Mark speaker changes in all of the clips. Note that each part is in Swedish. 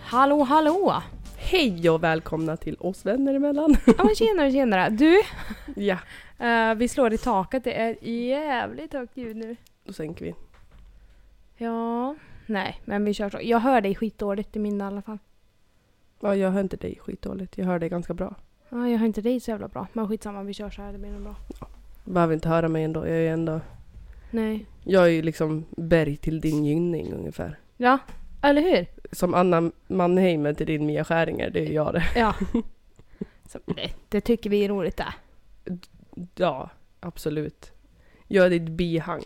Speaker 1: Hallå hallå!
Speaker 2: Hej och välkomna till oss vänner emellan.
Speaker 1: Ja men tjenare tjenare! Du,
Speaker 2: ja,
Speaker 1: eh, vi slår i taket. Det är jävligt högt ljud nu.
Speaker 2: då sänker vi.
Speaker 1: Ja, nej men vi kör så. Jag hör dig skitdåligt i min i alla fall.
Speaker 2: Ja, jag hör inte dig skitdåligt. Jag hör dig ganska bra.
Speaker 1: Ja, jag hör inte dig så jävla bra. Men skitsamma, vi kör så här. Det blir nog bra.
Speaker 2: Behöver inte höra mig ändå. Jag är ju ändå...
Speaker 1: Nej.
Speaker 2: Jag är ju liksom berg till din gynning ungefär.
Speaker 1: Ja, eller hur?
Speaker 2: Som Anna Mannheimer till din Mia Skäringer, det är jag det.
Speaker 1: Ja. Så, det, det tycker vi är roligt det.
Speaker 2: Ja, absolut. Jag är ditt bihang.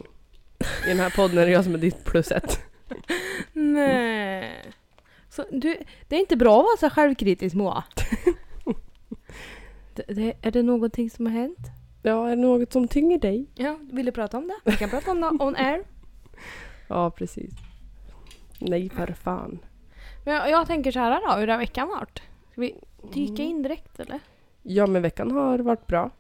Speaker 2: I den här podden är det jag som är ditt plus ett.
Speaker 1: Nej. Så, du, det är inte bra att vara så självkritisk Moa. det, det, är det någonting som har hänt?
Speaker 2: Ja, är det något som tynger dig?
Speaker 1: Ja, vill du prata om det? Vi kan prata om det on air.
Speaker 2: Ja, precis. Nej, för fan.
Speaker 1: Men jag, jag tänker så här då, hur har veckan varit? Ska vi dyka in direkt eller?
Speaker 2: Ja, men veckan har varit bra.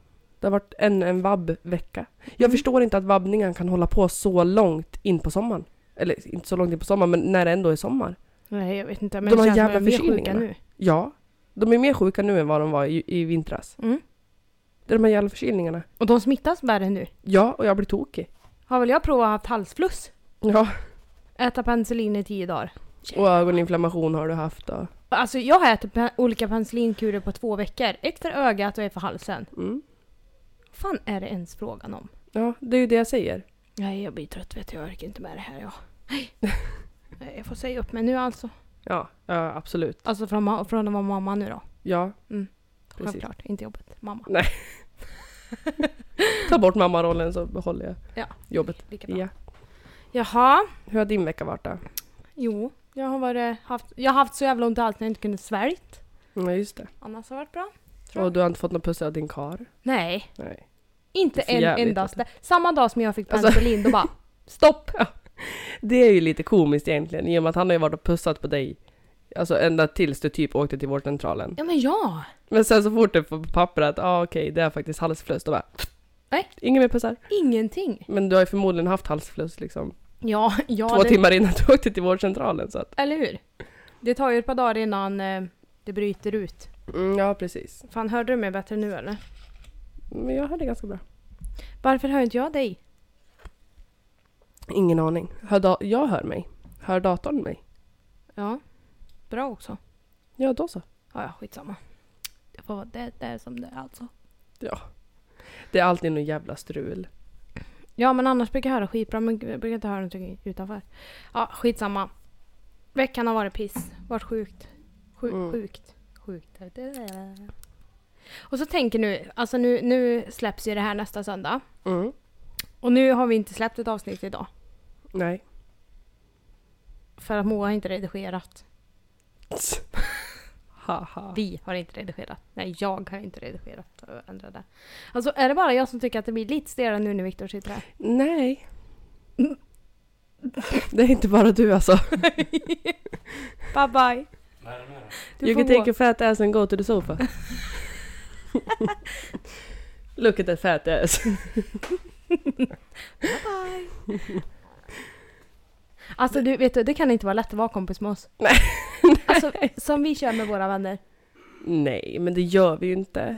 Speaker 2: Det har varit ännu en vabb-vecka. Jag förstår inte att vabbningen kan hålla på så långt in på sommaren. Eller inte så långt in på sommaren, men när det ändå är sommar.
Speaker 1: Nej, jag vet inte. Men
Speaker 2: De
Speaker 1: det
Speaker 2: här
Speaker 1: känns som
Speaker 2: jävla
Speaker 1: att vi är sjuka
Speaker 2: förkylningarna.
Speaker 1: nu.
Speaker 2: Ja, de är mer sjuka nu än vad de var i, i vintras.
Speaker 1: Mm.
Speaker 2: Det är de här jävla förkylningarna.
Speaker 1: Och de smittas värre nu.
Speaker 2: Ja, och jag blir tokig.
Speaker 1: Har väl jag provat att ha haft halsfluss?
Speaker 2: Ja,
Speaker 1: Äta penicillin i tio dagar.
Speaker 2: och ögoninflammation har du haft och...
Speaker 1: Alltså jag har ätit pe- olika penicillinkurer på två veckor. Ett för ögat och ett för halsen.
Speaker 2: Mm.
Speaker 1: fan är det ens frågan om?
Speaker 2: Ja, det är ju det jag säger.
Speaker 1: Nej, jag blir trött vet du. Jag orkar inte med det här jag. Nej. Nej, jag får säga upp mig nu alltså.
Speaker 2: Ja, ja absolut.
Speaker 1: Alltså från, ma- från att vara mamma nu då.
Speaker 2: Ja, Precis.
Speaker 1: Självklart, inte jobbet. Mamma.
Speaker 2: ta bort mammarollen så behåller jag
Speaker 1: Ja.
Speaker 2: jobbet.
Speaker 1: Lika bra.
Speaker 2: Ja.
Speaker 1: Jaha.
Speaker 2: Hur har din vecka varit då?
Speaker 1: Jo, jag har, varit, haft, jag har haft så jävla ont i allt när jag inte kunde svält.
Speaker 2: Ja, just det.
Speaker 1: Annars har det varit bra. Tror jag.
Speaker 2: Och du har inte fått någon puss av din kar?
Speaker 1: Nej,
Speaker 2: Nej.
Speaker 1: inte
Speaker 2: Det är för
Speaker 1: en
Speaker 2: jävligt,
Speaker 1: endaste. Samma dag som jag fick
Speaker 2: Alltså-
Speaker 1: penicillin då bara stopp.
Speaker 2: Det är ju lite komiskt egentligen i och med att han har ju varit och pussat på dig. Alltså ända tills du typ åkte till vårdcentralen.
Speaker 1: Ja men ja.
Speaker 2: Men sen så fort du får på papper att ah, okej det är faktiskt halsfluss, då bara
Speaker 1: Nej.
Speaker 2: Ingen mer pussar.
Speaker 1: Ingenting.
Speaker 2: Men du har ju förmodligen haft halsfluss liksom
Speaker 1: Ja, ja.
Speaker 2: två
Speaker 1: det,
Speaker 2: timmar innan du åkte till vårdcentralen så att.
Speaker 1: Eller hur? Det tar ju ett par dagar innan eh, det bryter ut.
Speaker 2: Mm, ja precis.
Speaker 1: Fan, hörde du mig bättre nu eller?
Speaker 2: Men jag hörde ganska bra.
Speaker 1: Varför hör inte jag dig?
Speaker 2: Ingen aning. Hör da- jag hör mig. Hör datorn mig?
Speaker 1: Ja, bra också.
Speaker 2: Ja då så.
Speaker 1: Ja, ja, skitsamma. Det får vara det, det är som det är alltså.
Speaker 2: Det är alltid någon jävla strul.
Speaker 1: Ja, men annars brukar jag höra skitbra, men jag brukar inte höra någonting utanför. Ja, skitsamma. Veckan har varit piss. Varit sjukt. Sjuk,
Speaker 2: Mm.
Speaker 1: Sjukt. Sjukt. Och så tänker nu, alltså nu, nu släpps ju det här nästa söndag.
Speaker 2: Mm.
Speaker 1: Och nu har vi inte släppt ett avsnitt idag.
Speaker 2: Nej.
Speaker 1: För att Moa har inte redigerat.
Speaker 2: Haha.
Speaker 1: Vi har inte redigerat. Nej, jag har inte redigerat. Jag ändrar det. Alltså är det bara jag som tycker att det blir lite stelare nu när Viktor sitter här?
Speaker 2: Nej. Det är inte bara du alltså.
Speaker 1: Bye bye! Du
Speaker 2: you
Speaker 1: får
Speaker 2: can
Speaker 1: gå.
Speaker 2: take your fat ass and go to the sofa. Look at that fat ass.
Speaker 1: Alltså du, vet du, det kan inte vara lätt att vara kompis med oss.
Speaker 2: Nej.
Speaker 1: Alltså som vi kör med våra vänner.
Speaker 2: Nej, men det gör vi ju inte.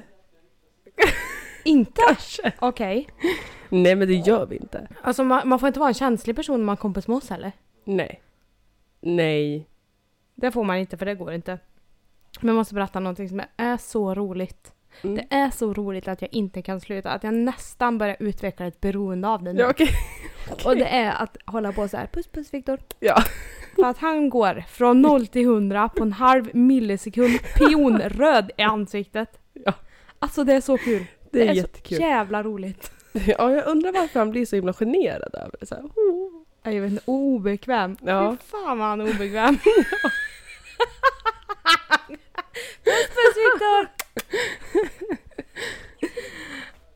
Speaker 1: Inte? Okej.
Speaker 2: Nej, men det gör vi inte.
Speaker 1: Alltså man, man får inte vara en känslig person om man är kompis med oss heller.
Speaker 2: Nej. Nej.
Speaker 1: Det får man inte för det går inte. Men jag måste berätta någonting som är så roligt.
Speaker 2: Mm.
Speaker 1: Det är så roligt att jag inte kan sluta, att jag nästan börjar utveckla ett beroende av det nu.
Speaker 2: Ja, okej.
Speaker 1: Och det är att hålla på så här, puss puss Viktor.
Speaker 2: Ja.
Speaker 1: För att han går från 0 till 100 på en halv millisekund, pionröd i ansiktet.
Speaker 2: Ja.
Speaker 1: Alltså det är så kul.
Speaker 2: Det är,
Speaker 1: så
Speaker 2: jättekul.
Speaker 1: jävla roligt.
Speaker 2: Ja, jag undrar varför han blir så himla generad över det. Så här, oh.
Speaker 1: Jag vet inte, obekväm.
Speaker 2: Ja.
Speaker 1: Fy fan vad han är obekväm. puss puss Viktor!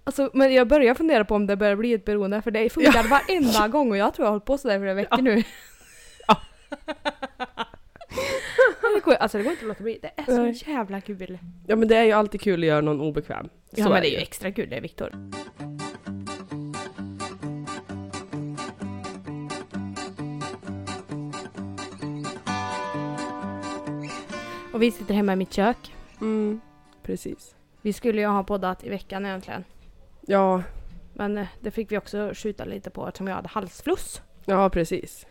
Speaker 1: Alltså, men jag börjar fundera på om det börjar bli ett beroende för det funkar varenda gång och jag tror jag har hållit på sådär i flera veckor nu.
Speaker 2: Ja.
Speaker 1: Det går- alltså det går inte att låta bli. Det är så
Speaker 2: Nej.
Speaker 1: jävla kul.
Speaker 2: ja, men det är ju alltid kul att göra någon obekväm. Så
Speaker 1: ja men det är ju extra kul det Viktor. Och vi sitter hemma i mitt kök.
Speaker 2: Mm, precis.
Speaker 1: Vi skulle ju ha poddat i veckan egentligen.
Speaker 2: Ja,
Speaker 1: Men eh, det fick vi också skjuta lite på eftersom jag hade halsfluss.
Speaker 2: ja precis.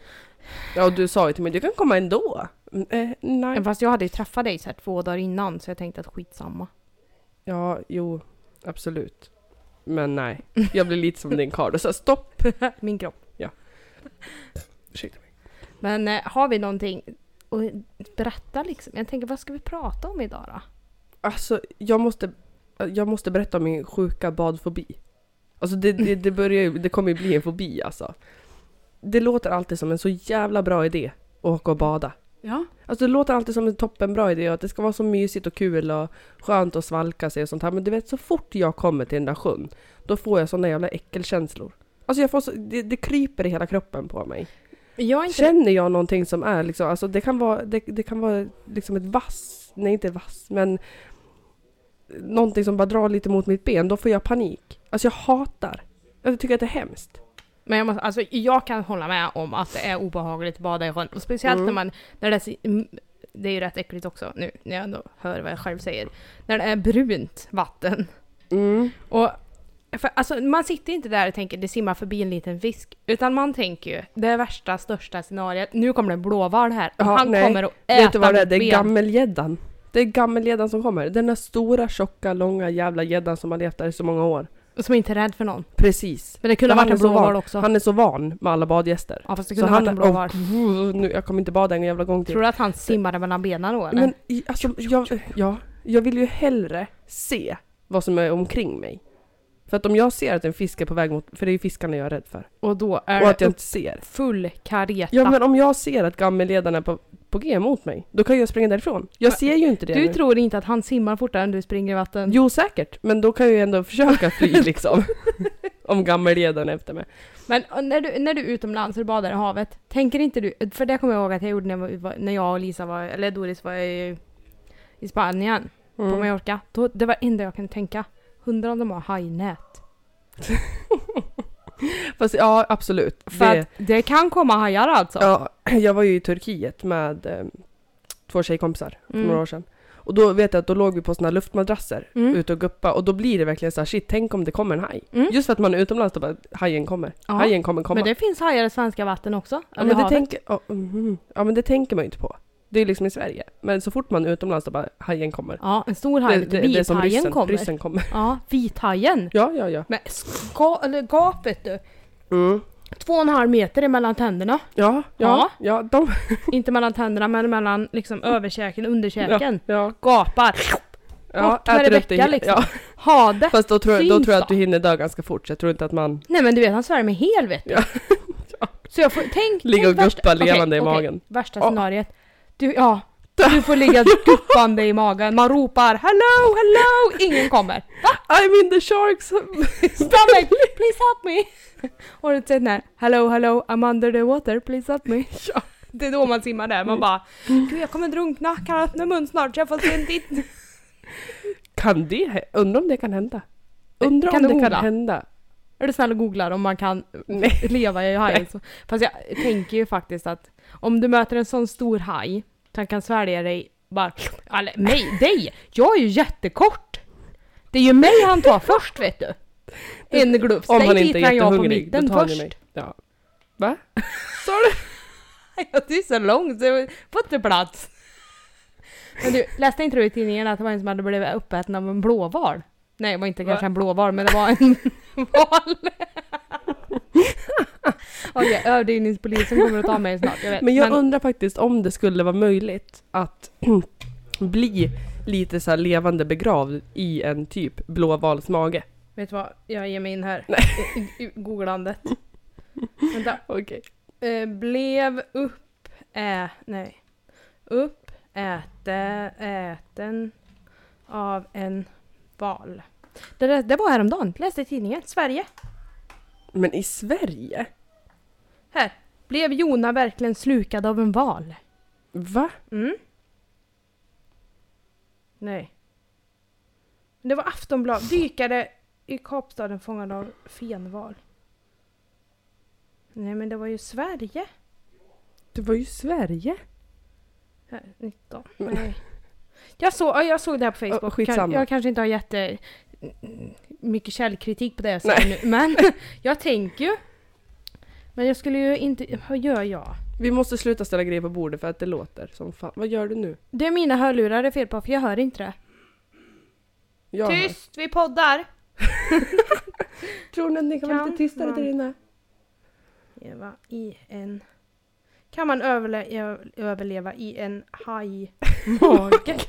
Speaker 2: Ja, och du sa ju till mig du kan komma ändå. Mm, Eh, nej.
Speaker 1: Fast jag hade ju träffat dig så här två dagar innan så jag tänkte att skitsamma.
Speaker 2: Ja, jo, absolut. Men nej, jag blir lite som din karl och sa stopp.
Speaker 1: Min kropp.
Speaker 2: Ursäkta mig.
Speaker 1: Men eh, har vi någonting att berätta liksom? Jag tänker vad ska vi prata om idag då?
Speaker 2: Alltså, jag måste, jag måste berätta om min sjuka badfobi. Alltså det, det, det, börjar, ju- det kommer ju bli en fobi alltså. Det låter alltid som en så jävla bra idé att åka och bada.
Speaker 1: Ja.
Speaker 2: Alltså det låter alltid som en toppenbra idé och att det ska vara så mysigt och kul och skönt att svalka sig och sånt här. Men du vet så fort jag kommer till den där sjön, då får jag såna jävla äckelkänslor. Alltså jag får så, det, det kryper i hela kroppen på mig.
Speaker 1: Jag är inte...
Speaker 2: Känner jag någonting som är liksom, alltså det kan vara, det, det kan vara liksom ett vass, nej inte vass, men någonting som bara drar lite mot mitt ben, då får jag panik. Alltså jag hatar. Jag tycker att det är hemskt.
Speaker 1: Men jag, måste, alltså, jag kan hålla med om att det är obehagligt att bada i sjön. Och speciellt
Speaker 2: Mm.
Speaker 1: när man... När det, är, så- mm, det är ju rätt äckligt också nu när jag ändå hör vad jag själv säger. När det är brunt vatten.
Speaker 2: Mm.
Speaker 1: Och, för, alltså, man sitter inte där och tänker det simmar förbi en liten fisk. Utan man tänker ju det värsta, största scenariet. Nu kommer det en blåval här och
Speaker 2: Ja,
Speaker 1: han
Speaker 2: nej.
Speaker 1: kommer att äta
Speaker 2: Vet du vad det är?
Speaker 1: mitt
Speaker 2: Det är
Speaker 1: ben.
Speaker 2: gammelgäddan. Det är gammelgäddan som kommer. Den där stora, tjocka, långa jävla gäddan som har levt där i så många år.
Speaker 1: Som inte är rädd för någon.
Speaker 2: Precis.
Speaker 1: Men det kunde
Speaker 2: Men
Speaker 1: ha varit en
Speaker 2: han är så
Speaker 1: blåval
Speaker 2: van.
Speaker 1: också.
Speaker 2: Han är så van med alla badgäster.
Speaker 1: ja fast det
Speaker 2: Så
Speaker 1: kunde ha varit
Speaker 2: han-
Speaker 1: en blåval.
Speaker 2: Puh, Nu, jag kommer inte bada en jävla gång till.
Speaker 1: Tror du att han simmade mellan benen då eller?
Speaker 2: Men i- alltså, jag, ja, jag vill ju hellre se vad som är omkring mig. För att om jag ser att en fisk är på väg mot, för det är ju fiskarna jag är rädd för.
Speaker 1: och då är
Speaker 2: Och att
Speaker 1: det
Speaker 2: jag
Speaker 1: upp
Speaker 2: inte ser.
Speaker 1: full kareta.
Speaker 2: Ja men om jag ser att gammelledarna är på, på G mot mig, då kan jag springa därifrån. Jag
Speaker 1: Men
Speaker 2: ser ju inte det
Speaker 1: Du
Speaker 2: nu.
Speaker 1: tror inte att han simmar fortare än du springer i vatten?
Speaker 2: Jo säkert, men då kan jag ju ändå försöka fly liksom. Om gammelledaren är efter mig.
Speaker 1: Men och när du, när du är utomlands och badar i havet, tänker inte du, för det kommer jag ihåg att jag gjorde när, vi var- när jag och Lisa var, eller Doris var i, i Spanien, på
Speaker 2: Mm.
Speaker 1: Mallorca. Då, det var det enda jag kunde tänka. Hundra om de har hajnät.
Speaker 2: Fast ja, absolut.
Speaker 1: För
Speaker 2: Det-
Speaker 1: att det kan komma hajar alltså.
Speaker 2: Ja, jag var ju i Turkiet med eh, två tjejkompisar för
Speaker 1: Mm.
Speaker 2: några år sedan. Och då vet jag att då låg vi på såna här luftmadrasser
Speaker 1: Mm.
Speaker 2: ute och guppa och då blir det verkligen så här, shit tänk om det kommer en haj.
Speaker 1: Mm.
Speaker 2: Just för att man är utomlands då bara, hajen kommer.
Speaker 1: Ja.
Speaker 2: Hajen kommer komma.
Speaker 1: Men det finns hajar i svenska vatten också.
Speaker 2: ja,
Speaker 1: eller
Speaker 2: men det
Speaker 1: havet.
Speaker 2: tänker, ja, mhm. ja men det tänker man ju inte på. Det är ju liksom i Sverige. Men så fort man är utomlands då bara, hajen kommer.
Speaker 1: ja, en stor haj.
Speaker 2: det,
Speaker 1: vet
Speaker 2: det,
Speaker 1: du,
Speaker 2: det är som
Speaker 1: Vithajen
Speaker 2: ryssen,
Speaker 1: kommer.
Speaker 2: ryssen kommer.
Speaker 1: Ja, vithajen.
Speaker 2: Ja, ja, ja.
Speaker 1: Men ska, eller gapet du.
Speaker 2: Mm.
Speaker 1: Två och en halv meter emellan tänderna.
Speaker 2: Ja, ja, ja, de,
Speaker 1: inte mellan tänderna men mellan liksom överkäken och underkäken.
Speaker 2: ja,
Speaker 1: Gapar.
Speaker 2: ja,
Speaker 1: Bort med
Speaker 2: äter upp
Speaker 1: Rebecca,
Speaker 2: hela-
Speaker 1: liksom.
Speaker 2: Ja,
Speaker 1: Hade.
Speaker 2: fast då tror, jag- då
Speaker 1: Syns
Speaker 2: tror jag
Speaker 1: då.
Speaker 2: att du hinner dö ganska fort, så jag tror inte att man
Speaker 1: Nej men du vet han svär mig hel vet du.
Speaker 2: Ja.
Speaker 1: Så jag får, tänk,
Speaker 2: Ligga
Speaker 1: tänk
Speaker 2: och
Speaker 1: värsta-
Speaker 2: guppa levande i
Speaker 1: okej,
Speaker 2: magen.
Speaker 1: okej, Värsta
Speaker 2: Ja.
Speaker 1: scenariet. Du, ja. Du får ligga guppande i magen. Man ropar hello, hello, ingen kommer.
Speaker 2: I'm in the sharks!
Speaker 1: Stomach, please help me! Och du säger den här hello, hello, I'm under the water, please help me. Det är då man simmar där,
Speaker 2: Mm.
Speaker 1: man bara Gud jag kommer drunkna, kan jag öppna mun snart så jag får se en titt?
Speaker 2: Kan det hä- Undrar om det kan hända? Undrar
Speaker 1: Kan
Speaker 2: om
Speaker 1: du
Speaker 2: det
Speaker 1: googla?
Speaker 2: kan hända?
Speaker 1: Är du snäll och googlar om man kan
Speaker 2: Nej.
Speaker 1: leva i hajen. Så. Fast jag tänker ju faktiskt att om du möter en sån stor haj, så han kan svälja dig bara... Eller mig, dig! Jag är ju jättekort! Det är ju mig han tar först vet du! En glufs.
Speaker 2: Om
Speaker 1: Dig
Speaker 2: han inte är
Speaker 1: tittar jag på
Speaker 2: jättehungrig,
Speaker 1: mitten
Speaker 2: då tar han ju
Speaker 1: först.
Speaker 2: mig. Ja. Va? Sa du?
Speaker 1: Ja, du är så lång så jag får inte plats. Men du, läste inte du i tidningen att det var en som hade blivit uppäten av en blåval? Nej, det var inte
Speaker 2: Va?
Speaker 1: kanske en blåval, men det var en val. Okej, överdrivningspolisen kommer att ta mig snart, jag vet.
Speaker 2: Men jag undrar faktiskt om det skulle vara möjligt att bli lite så här levande begravd i en typ blåvals mage.
Speaker 1: vet du vad? Jag ger mig in här.
Speaker 2: Nej.
Speaker 1: I, i, i googlandet. Vänta.
Speaker 2: Okej.
Speaker 1: Eh, blev upp... Ä, nej. Upp äte, äten av en val. Det, där, det var häromdagen. Läste i tidningen. Sverige.
Speaker 2: Men i Sverige?
Speaker 1: Här. Blev Jona verkligen slukad av en val?
Speaker 2: Va?
Speaker 1: Mm. Nej. Det var Aftonbladet. Dykare i Kapstaden fångad av fenval. Nej men det var ju Sverige.
Speaker 2: Det var ju Sverige.
Speaker 1: Här, 19.
Speaker 2: Men-
Speaker 1: Nej. Jag, så, ja, jag såg det här på
Speaker 2: Ja,
Speaker 1: Facebook.
Speaker 2: skitsamma.
Speaker 1: Kan- Jag kanske inte har jätte mycket källkritik på det jag säger nu. Men jag tänker ju. Men jag skulle ju inte... Vad gör jag?
Speaker 2: Vi måste sluta ställa grejer på bordet för att det låter som fan. Vad gör du nu?
Speaker 1: Det är mina hörlurar det är fel på för jag hör inte det.
Speaker 2: Jag hör.
Speaker 1: Tyst! Vi poddar!
Speaker 2: Tror ni att ni kan, vara lite
Speaker 1: Kan
Speaker 2: tystare
Speaker 1: man-
Speaker 2: där inne?
Speaker 1: Leva i en... Kan man överle- överleva i en hajmage?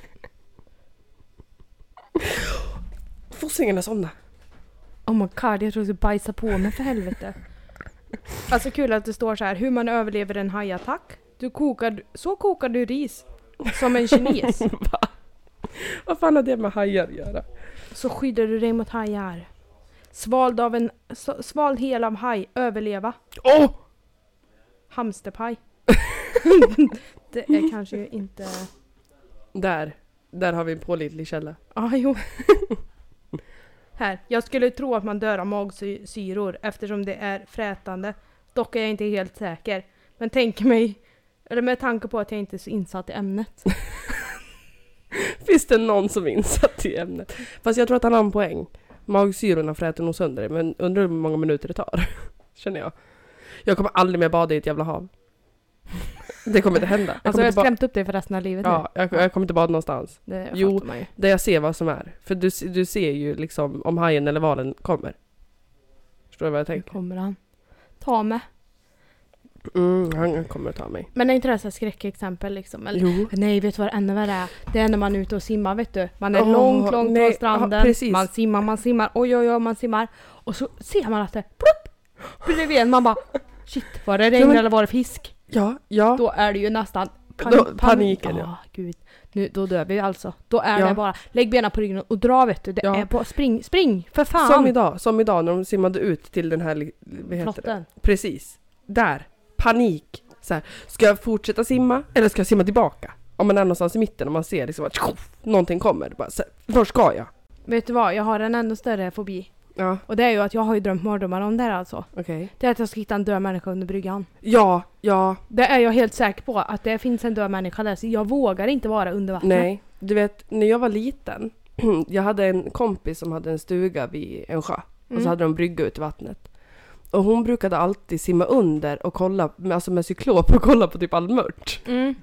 Speaker 2: Fossingarna somna.
Speaker 1: Oh my god, jag tror jag ska bajsa på mig för helvete. Alltså kul att det står så här, hur man överlever en hajattack. Du kokar, så kokar du ris. Som en kines.
Speaker 2: Vad fan har det med hajar att göra?
Speaker 1: Så skyddar du dig mot hajar. Svald av en, s- svald hel av haj, överleva.
Speaker 2: Åh!
Speaker 1: Hamsterpaj. det är kanske ju inte...
Speaker 2: Där. Där har vi en pålitlig källa.
Speaker 1: Ah, jo. Här, jag skulle tro att man dör av magsyror eftersom det är frätande. Dock är jag inte helt säker. Men tänk mig, eller med tanke på att jag inte är så insatt i ämnet. Alltså,
Speaker 2: Finns det någon som är insatt i ämnet? Fast jag tror att han har en poäng. Magsyrorna fräter nog sönder det, men undrar hur många minuter det tar. Känner jag. Jag kommer aldrig mer bada i ett jävla hav. Det kommer inte hända.
Speaker 1: Alltså
Speaker 2: Jag
Speaker 1: jag
Speaker 2: kommer
Speaker 1: har
Speaker 2: inte ba-
Speaker 1: skrämt upp dig för resten av livet
Speaker 2: ja, jag, jag kommer inte bada någonstans.
Speaker 1: nu. Det
Speaker 2: Jo.
Speaker 1: fattar man ju.
Speaker 2: Där jag ser vad som är. För du, se- du ser ju liksom om hajen eller valen kommer. Förstår du vad jag
Speaker 1: Nu
Speaker 2: tänker?
Speaker 1: kommer han. Ta med.
Speaker 2: Mm, han kommer att ta mig.
Speaker 1: Men är inte det här så här skräckexempel liksom? Eller?
Speaker 2: Jo.
Speaker 1: Nej, vet du vad det ännu värre är? Det är när man är ute och simmar vet du. Man är
Speaker 2: Åh,
Speaker 1: långt, långt
Speaker 2: nej,
Speaker 1: från
Speaker 2: ja,
Speaker 1: stranden.
Speaker 2: precis.
Speaker 1: man simmar, man simmar. Oj, oj, oj, man simmar. Och så ser man att det plopp! Bredvid en. Man bara shit, var det regn
Speaker 2: Ja, men-
Speaker 1: eller var det fisk?
Speaker 2: Ja, ja.
Speaker 1: Då är det ju nästan pan-
Speaker 2: Då-
Speaker 1: pan-
Speaker 2: paniken, ja.
Speaker 1: Ah, gud. Nu, då dör vi alltså. Då är
Speaker 2: Ja.
Speaker 1: det bara lägg benen på ryggen och dra vet du. Det
Speaker 2: Ja.
Speaker 1: är bara spring, spring för fan!
Speaker 2: Som idag, som idag när de simmade ut till den här, li- vad heter det?
Speaker 1: Flotten.
Speaker 2: Precis. Där. Panik. Så här, ska jag fortsätta simma eller ska jag simma tillbaka? Om man är någonstans i mitten och man ser liksom att tjoff, någonting kommer. Bara, så här, var ska jag?
Speaker 1: Vet du vad, jag har en ännu större fobi.
Speaker 2: Ja,
Speaker 1: Och det är ju att jag har ju drömt mardrömmar om det här alltså.
Speaker 2: okej.
Speaker 1: Det är att jag ska hitta en död människa under bryggan.
Speaker 2: Ja, ja,
Speaker 1: Det är jag helt säker på, att det finns en död människa där. Så jag vågar inte vara under vattnet.
Speaker 2: nej. Du vet, när jag var liten, jag hade en kompis som hade en stuga vid en sjö. Och så
Speaker 1: Mm.
Speaker 2: hade de brygga ut i vattnet. Och hon brukade alltid simma under och kolla, med- alltså med cyklop och kolla på typ all mört.
Speaker 1: Mm.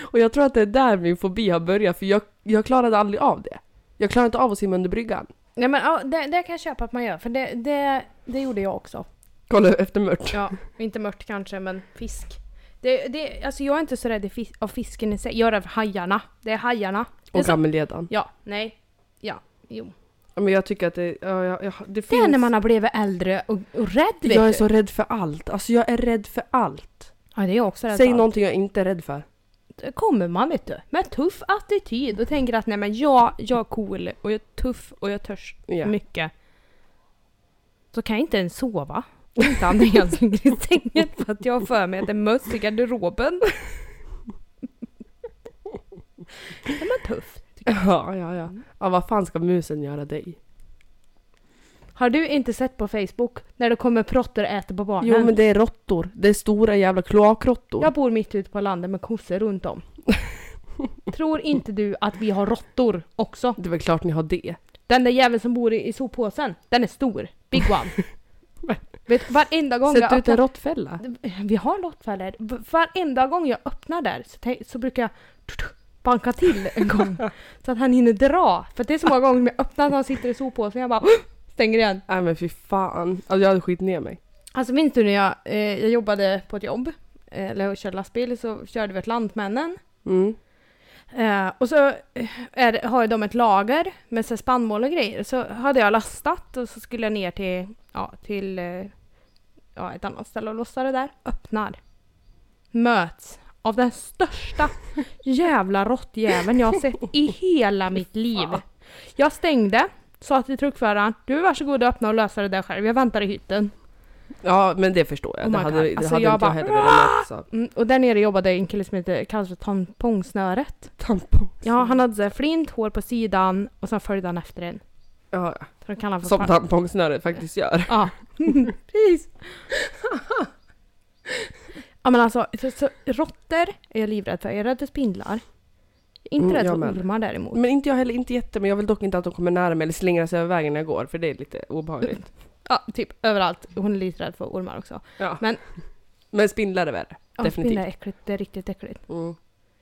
Speaker 2: Och jag tror att det är där min fobi har börjat för jag, jag klarade aldrig av det. Jag klarade inte av att simma under bryggan.
Speaker 1: Nej men ja, det, det kan jag köpa att man gör, för det, det, det gjorde jag också.
Speaker 2: Kolla efter mört.
Speaker 1: Ja, inte mört kanske, men fisk. Det, det, alltså jag är inte så rädd i fis- av fisken i sig, jag är rädd för hajarna. Det är hajarna. Det är
Speaker 2: Och
Speaker 1: så,
Speaker 2: gammelledan.
Speaker 1: ja, nej, ja, jo.
Speaker 2: Ja, Men jag tycker att det, ja, ja, ja, det
Speaker 1: Det
Speaker 2: finns...
Speaker 1: är när man har blivit äldre och, och rädd vet
Speaker 2: jag är
Speaker 1: du.
Speaker 2: så rädd för allt. Alltså jag är rädd för allt.
Speaker 1: Ja, det är jag också rädd
Speaker 2: Säg
Speaker 1: för.
Speaker 2: någonting jag inte är rädd för.
Speaker 1: Då kommer man vet du, med tuff attityd och tänker att nej men jag, jag är cool och jag är tuff och jag törs
Speaker 2: Ja.
Speaker 1: mycket. Så kan jag inte ens sova. Inte Andreas ligger i sängen för att jag har för mig att det är möss i garderoben. Det var tuff.
Speaker 2: Ja, ja, ja.
Speaker 1: Mm.
Speaker 2: Ja, vad fan ska musen göra dig?
Speaker 1: Har du inte sett på Facebook när det kommer råttor och äter på barnen?
Speaker 2: Jo, men det är råttor. Det är stora jävla kloakråttor.
Speaker 1: Jag bor mitt ute på landet med kossor runt om. Tror inte du att vi har råttor också?
Speaker 2: Det är väl klart ni har det.
Speaker 1: Den där jäveln som bor i, i soppåsen, den är stor. Big one. Vet, varenda gång
Speaker 2: Sätt
Speaker 1: jag
Speaker 2: ut en
Speaker 1: öppnar...
Speaker 2: råttfälla.
Speaker 1: Vi har lottfällor. V- Varenda gång jag öppnar där så, tän- så brukar jag banka till en gång. så att han hinner dra. För att det är så många gånger jag öppnar att han sitter i soppåsen jag bara stänger igen.
Speaker 2: Nej men fy fan. Alltså, jag hade skit ner mig.
Speaker 1: Alltså minns du när jag, eh, jag jobbade på ett jobb, eh, eller jag körde lastbil, så körde vi ett Lantmännen.
Speaker 2: Mm.
Speaker 1: Eh, och så eh, är, det- har ju de ett lager med så här spannmål och grejer. Så hade jag lastat och så skulle jag ner till, ja, till eh, ja, ett annat ställe och lossa det där. Öppnar. Möts av den största jävla råttjäveln jag har sett i hela mitt liv. Jag stängde, sa till truckföraren, du varsågod och öppna och lösa det där själv, jag väntar i hytten.
Speaker 2: Ja men det förstår jag.
Speaker 1: Oh
Speaker 2: det
Speaker 1: my
Speaker 2: hade,
Speaker 1: God.
Speaker 2: det
Speaker 1: Alltså,
Speaker 2: hade
Speaker 1: jag
Speaker 2: inte
Speaker 1: bara-
Speaker 2: jag heller velat mötas av.
Speaker 1: Mm, och där nere jobbade en kille som heter, kallas för tampongsnöret.
Speaker 2: Tampong.
Speaker 1: Ja, han hade så här flint hår på sidan och sen följde han efter en.
Speaker 2: Ja, ja.
Speaker 1: Så de kallar han för
Speaker 2: som
Speaker 1: pa-
Speaker 2: tampongsnöre faktiskt gör.
Speaker 1: Ja, precis. ja men alltså, så, så, råttor är jag livrädd för. Jag är rädd för spindlar. Inte
Speaker 2: Mm,
Speaker 1: rädd
Speaker 2: jag
Speaker 1: för
Speaker 2: med.
Speaker 1: ormar däremot.
Speaker 2: Men inte jag heller, inte jätte, men jag vill dock inte att de kommer nära mig eller slingrar sig över vägen när jag går, för det är lite obehagligt.
Speaker 1: Ja, typ överallt. Hon är lite rädd för ormar också.
Speaker 2: Ja.
Speaker 1: Men-
Speaker 2: men spindlar är värre.
Speaker 1: Ja,
Speaker 2: Definitivt.
Speaker 1: spindlar är äckligt. Det är riktigt äckligt.
Speaker 2: Mm.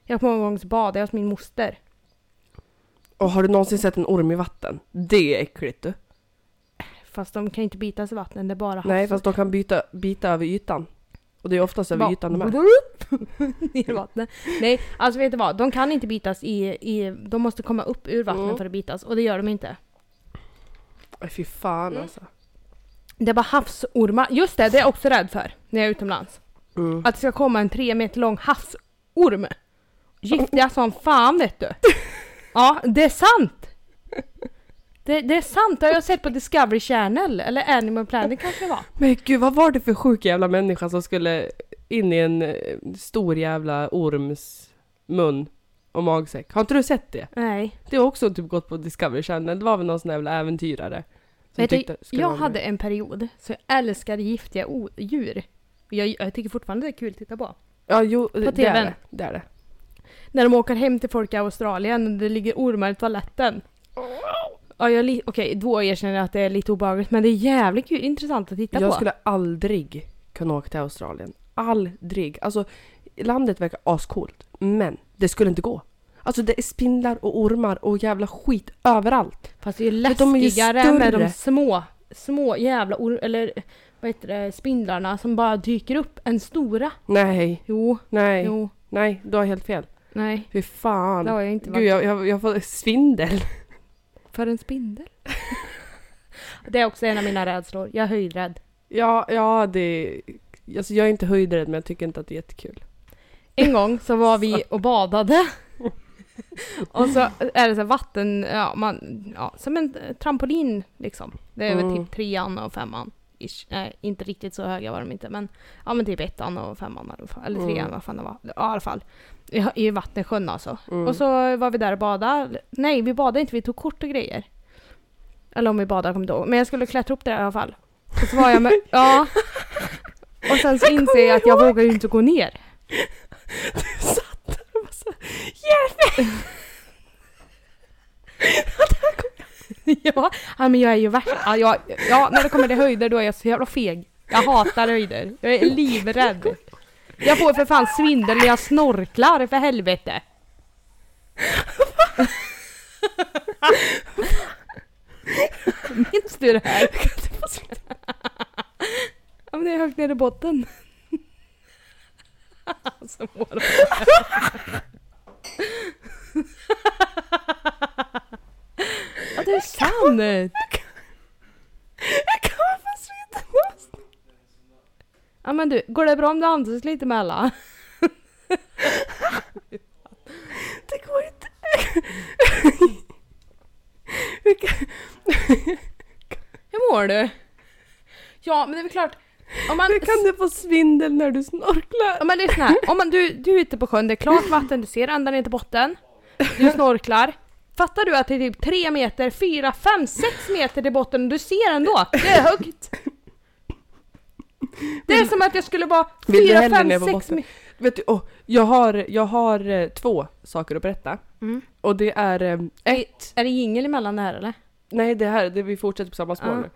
Speaker 1: Jag kommer ihåg en gång så badade jag hos alltså min moster.
Speaker 2: Och har du någonsin sett en orm i vatten? Det är äckligt du.
Speaker 1: Fast de kan ju inte bitas i vatten, det är bara
Speaker 2: Nej, fast de kan byta, bita över ytan. Och det är oftast över
Speaker 1: Bara-
Speaker 2: ytan de är.
Speaker 1: Ner i vattnet. Nej, alltså vet du vad? De kan inte bitas i... i de måste komma upp ur vattnet
Speaker 2: Mm.
Speaker 1: för att bitas och det gör de inte.
Speaker 2: Aj, Fy fan
Speaker 1: Mm.
Speaker 2: alltså.
Speaker 1: Det var havsormar. Just det, det är jag också rädd för när jag är utomlands.
Speaker 2: Mm.
Speaker 1: Att det ska komma en tre meter lång havsorm. Giftiga som fan vet du. Ja, det är sant! Det, det är sant, det har jag sett på Discovery Channel, eller Animal Planet kanske det var.
Speaker 2: Men gud, vad var det för sjuk jävla människa som skulle in i en eh, stor jävla orms mun och magsäck? Har inte du sett det?
Speaker 1: Nej.
Speaker 2: Det har också typ gått på Discovery Channel. Det var väl någon sån jävla äventyrare. Som
Speaker 1: Vet du,
Speaker 2: tyckte, skulle
Speaker 1: jag
Speaker 2: vara med.
Speaker 1: hade en period så jag älskade giftiga o- djur. Jag, jag tycker fortfarande det är kul att titta på.
Speaker 2: Ja, jo, det är
Speaker 1: TV:n.
Speaker 2: det. det är det.
Speaker 1: När de åker hem till folk i Australien och det ligger ormar i toaletten. Ja, jag li- Okej, då erkänner jag att det är lite obehagligt men det är jävligt kul, intressant att titta
Speaker 2: Jag
Speaker 1: på.
Speaker 2: skulle aldrig kunna åka till Australien. Aldrig. Alltså, landet verkar ascoolt. Men det skulle inte gå. Alltså det är spindlar och ormar och jävla skit överallt.
Speaker 1: Fast det är ju
Speaker 2: För de är ju
Speaker 1: läskigare med de
Speaker 2: större.
Speaker 1: små, små jävla or- eller vad heter det, spindlarna som bara dyker upp än stora.
Speaker 2: Nej,
Speaker 1: Jo,
Speaker 2: nej,
Speaker 1: jo,
Speaker 2: nej. Du har helt fel.
Speaker 1: nej.
Speaker 2: Fy fan.
Speaker 1: Det har jag inte
Speaker 2: Gud, jag, jag, jag får svindel.
Speaker 1: För en spindel? det är också en av mina rädslor. Jag är höjdrädd.
Speaker 2: Ja, ja det... Alltså jag är inte höjdrädd men jag tycker inte att det är jättekul.
Speaker 1: En gång så var vi och badade. och så är det så här vatten, ja, man, ja, som en trampolin liksom. Det är väl
Speaker 2: Mm.
Speaker 1: typ trean och femman. Ish. Nej, inte riktigt så höga var de inte men ja men typ ettan och femman eller, vad fan- eller trean
Speaker 2: Mm.
Speaker 1: vad fan det var. Ja, i alla fall. I, i vattensjön alltså.
Speaker 2: Mm.
Speaker 1: Och så var vi där och badade. Nej vi badade inte, vi tog kort och grejer. Eller om vi badade, kommer inte ihåg. Men jag skulle klättra upp där i alla fall. Och så var jag med, ja. Och sen så inser jag att jag vågar ju inte gå ner.
Speaker 2: satt där och bara såhär Hjälp mig!
Speaker 1: Ja, ja, men jag är ju värst. Ja, jag, ja, när det kommer till höjder då är jag så jävla feg. Jag hatar höjder. Jag är livrädd. Jag får för fan svindel när jag snorklar, för helvete. Minns du det här? Ja, men det är högt ner i botten. Alltså, våra- Ja, det är sant!
Speaker 2: Jag kommer få svindel!
Speaker 1: Ja men du, går det bra om du andas lite med alla?
Speaker 2: Det går inte.
Speaker 1: Hur mår du? Ja men det är väl klart, om man...
Speaker 2: Hur kan du få svindel när du snorklar?
Speaker 1: Ja men lyssna här, om man, du, du är ute på sjön, det är klart vatten, du ser ända ner till botten. Du snorklar. Fattar du att det är typ 3 meter, 4, 5, 6 meter till botten och du ser ändå? Det är högt! Det är som att jag skulle vara
Speaker 2: Vill du
Speaker 1: 4,
Speaker 2: hellre
Speaker 1: 5,
Speaker 2: ner på
Speaker 1: 6
Speaker 2: botten?
Speaker 1: meter...
Speaker 2: Vet du, åh, jag har, jag har eh, två saker att berätta.
Speaker 1: Mm.
Speaker 2: Och det är eh, ett,
Speaker 1: Är det jingel emellan det här eller?
Speaker 2: nej det här, det, vi fortsätter på samma spår
Speaker 1: Ja.
Speaker 2: nu.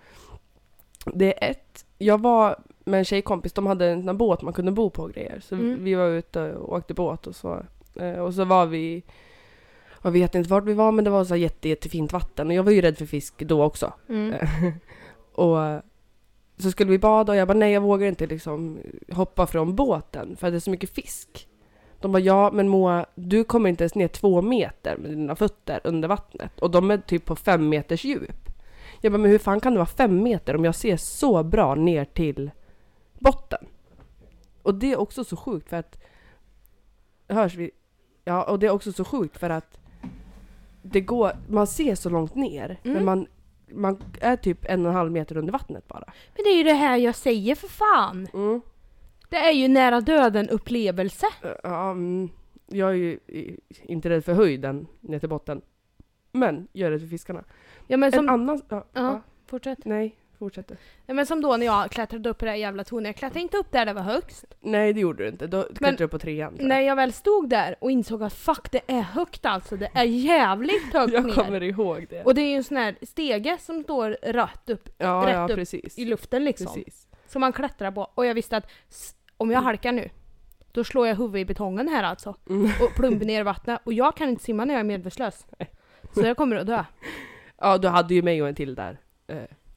Speaker 2: Det är ett, jag var med en tjejkompis, de hade en sån här båt man kunde bo på och grejer. Så
Speaker 1: Mm.
Speaker 2: vi var ute och åkte båt och så, eh, och så var vi, jag vet inte vart vi var men det var så här jätte, jättefint vatten och jag var ju rädd för fisk då också.
Speaker 1: Mm.
Speaker 2: Och eh, så skulle vi bada och jag bara nej jag vågar inte liksom hoppa från båten för det är så mycket fisk. De bara ja men Moa du kommer inte ens ner två meter med dina fötter under vattnet och de är typ på fem meters djup. Jag bara men hur fan kan det vara fem meter om jag ser så bra ner till botten? Och det är också så sjukt för att hörs vi? Ja och det är också så sjukt för att det går, man ser så långt ner
Speaker 1: Mm.
Speaker 2: men man man är typ en och en halv meter under vattnet bara.
Speaker 1: Men det är ju det här jag säger för fan!
Speaker 2: Mm.
Speaker 1: Det är ju nära döden upplevelse.
Speaker 2: Ja, mm, jag är ju i- inte rädd för höjden ner till botten. Men jag är rädd för fiskarna.
Speaker 1: Ja men
Speaker 2: en
Speaker 1: som...
Speaker 2: annan... Ja,
Speaker 1: Ja.
Speaker 2: ja.
Speaker 1: Fortsätt.
Speaker 2: nej. Fortsätter.
Speaker 1: Nej, Men som då när jag klättrade upp i det där jävla tornet. Jag klättrade inte upp där det var högst.
Speaker 2: Nej det gjorde du inte, då klättrade du på trean. tror jag.
Speaker 1: När jag väl stod där och insåg att fuck det är högt alltså. Det är jävligt högt
Speaker 2: jag
Speaker 1: ner.
Speaker 2: kommer ihåg det.
Speaker 1: Och det är ju en sån här stege som står rött upp
Speaker 2: ja,
Speaker 1: rätt
Speaker 2: ja,
Speaker 1: upp
Speaker 2: precis.
Speaker 1: i luften liksom.
Speaker 2: precis.
Speaker 1: Som man klättrar på. Och jag visste att s- om jag halkar nu, då slår jag huvudet i betongen här alltså.
Speaker 2: Mm.
Speaker 1: Och plumper ner i vattnet. Och jag kan inte simma när jag är medvetslös. Så jag kommer att dö.
Speaker 2: Ja, du hade ju mig och en till där.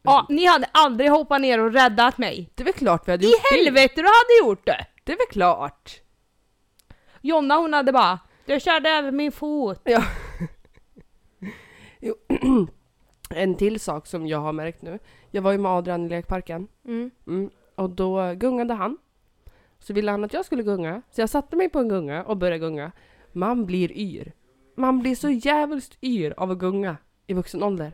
Speaker 1: Ja, ni hade aldrig hoppat ner och räddat mig.
Speaker 2: Det är väl klart vi hade
Speaker 1: I
Speaker 2: gjort det.
Speaker 1: helvete du hade gjort det!
Speaker 2: Det är väl klart.
Speaker 1: Jonna hon hade bara Du körde över min fot.
Speaker 2: En till sak som jag har märkt nu. Jag var ju med Adrian i lekparken
Speaker 1: Mm.
Speaker 2: mm. och då gungade han. Så ville han att jag skulle gunga, så jag satte mig på en gunga och började gunga. Man blir yr. Man blir så jävligt yr av att gunga i vuxen ålder.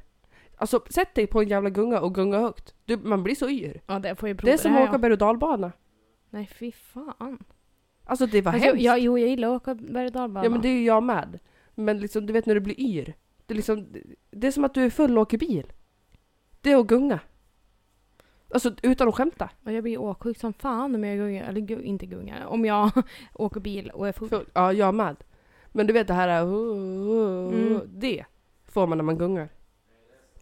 Speaker 2: Alltså sätt dig på en jävla gunga och gunga högt. Du, man blir så yr.
Speaker 1: Ja det får ju prova
Speaker 2: Det är som
Speaker 1: här,
Speaker 2: att åka berg och dalbana.
Speaker 1: Nej fy fan.
Speaker 2: Alltså det var
Speaker 1: Alltså,
Speaker 2: hemskt.
Speaker 1: jag, jo jag gillar att åka berg och dalbana.
Speaker 2: Ja men det är ju jag med. Men liksom, du vet när du blir yr. Det är, liksom, det är som att du är full och åker bil. Det är att gunga. Alltså utan att skämta.
Speaker 1: Och jag blir åksjuk som fan om jag gungar, eller gu, inte gungar, om jag åker bil och är full.
Speaker 2: Full. Ja, jag med. Men du vet det här... Uh, uh, uh,
Speaker 1: Mm.
Speaker 2: Det får man när man gungar.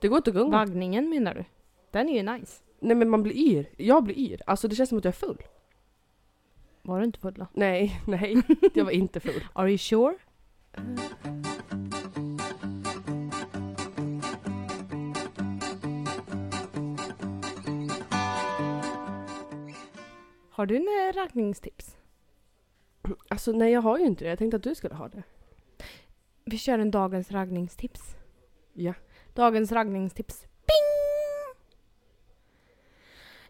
Speaker 2: Det går inte att gunga.
Speaker 1: Vaggningen menar du? Den är ju nice.
Speaker 2: Nej men man blir yr. Jag blir yr. Alltså det känns som att jag är full.
Speaker 1: Var du inte full då?
Speaker 2: Nej, nej. Jag var inte full.
Speaker 1: Are you sure? Har du några raggningstips?
Speaker 2: Alltså nej, jag har ju inte det. Jag tänkte att du skulle ha det.
Speaker 1: Vi kör en dagens raggningstips.
Speaker 2: Ja.
Speaker 1: Dagens raggningstips. Bing!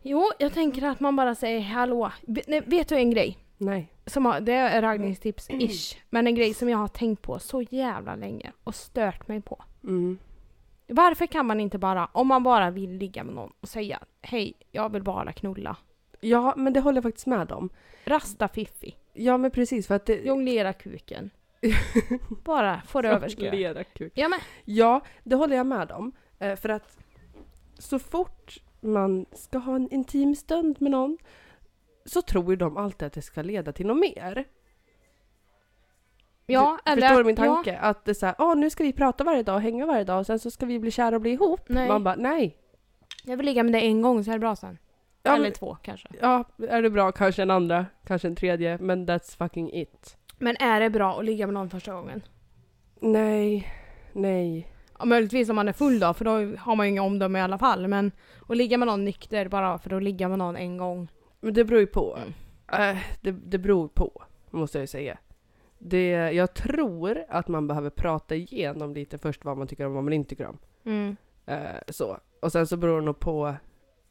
Speaker 1: Jo, jag tänker att man bara säger hallå. Vet- nej, Vet du en grej?
Speaker 2: Nej.
Speaker 1: som har, det är raggningstips-ish, men en grej som jag har tänkt på så jävla länge och stört mig på.
Speaker 2: Mm.
Speaker 1: Varför kan man inte bara, om man bara vill ligga med någon och säga hej, jag vill bara knulla.
Speaker 2: Ja, men det håller jag faktiskt med om.
Speaker 1: Rasta fiffi,
Speaker 2: Ja, men precis för att det...
Speaker 1: jonglera kuken. bara få det över skröt.
Speaker 2: Lera kuk.
Speaker 1: Ja men,
Speaker 2: Ja, det håller jag med om. Eh, För att så fort man ska ha en intim stund med någon så tror ju de alltid att det ska leda till något mer.
Speaker 1: ja
Speaker 2: du,
Speaker 1: eller...
Speaker 2: förstår du min
Speaker 1: ja,
Speaker 2: tanke? Att det är såhär, åh nu ska vi prata varje dag och hänga varje dag och sen så ska vi bli kära och bli ihop.
Speaker 1: Nej.
Speaker 2: Man bara, nej.
Speaker 1: jag vill ligga med dig en gång så är det bra sen.
Speaker 2: Ja,
Speaker 1: eller
Speaker 2: men,
Speaker 1: två kanske.
Speaker 2: ja, är det bra kanske en andra, kanske en tredje, men that's fucking it.
Speaker 1: Men är det bra att ligga med någon första gången?
Speaker 2: Nej, nej.
Speaker 1: Ja, möjligtvis om man är full då, för då har man ju inga omdöme i alla fall. Men att ligga med någon nykter bara för att ligga med någon en gång.
Speaker 2: Men det beror ju på.
Speaker 1: Mm.
Speaker 2: Eh, det, det beror på, måste jag ju säga. Det, jag tror att man behöver prata igenom lite först vad man tycker om och vad man inte tycker om.
Speaker 1: Mm.
Speaker 2: Eh, så. Och sen så beror det nog på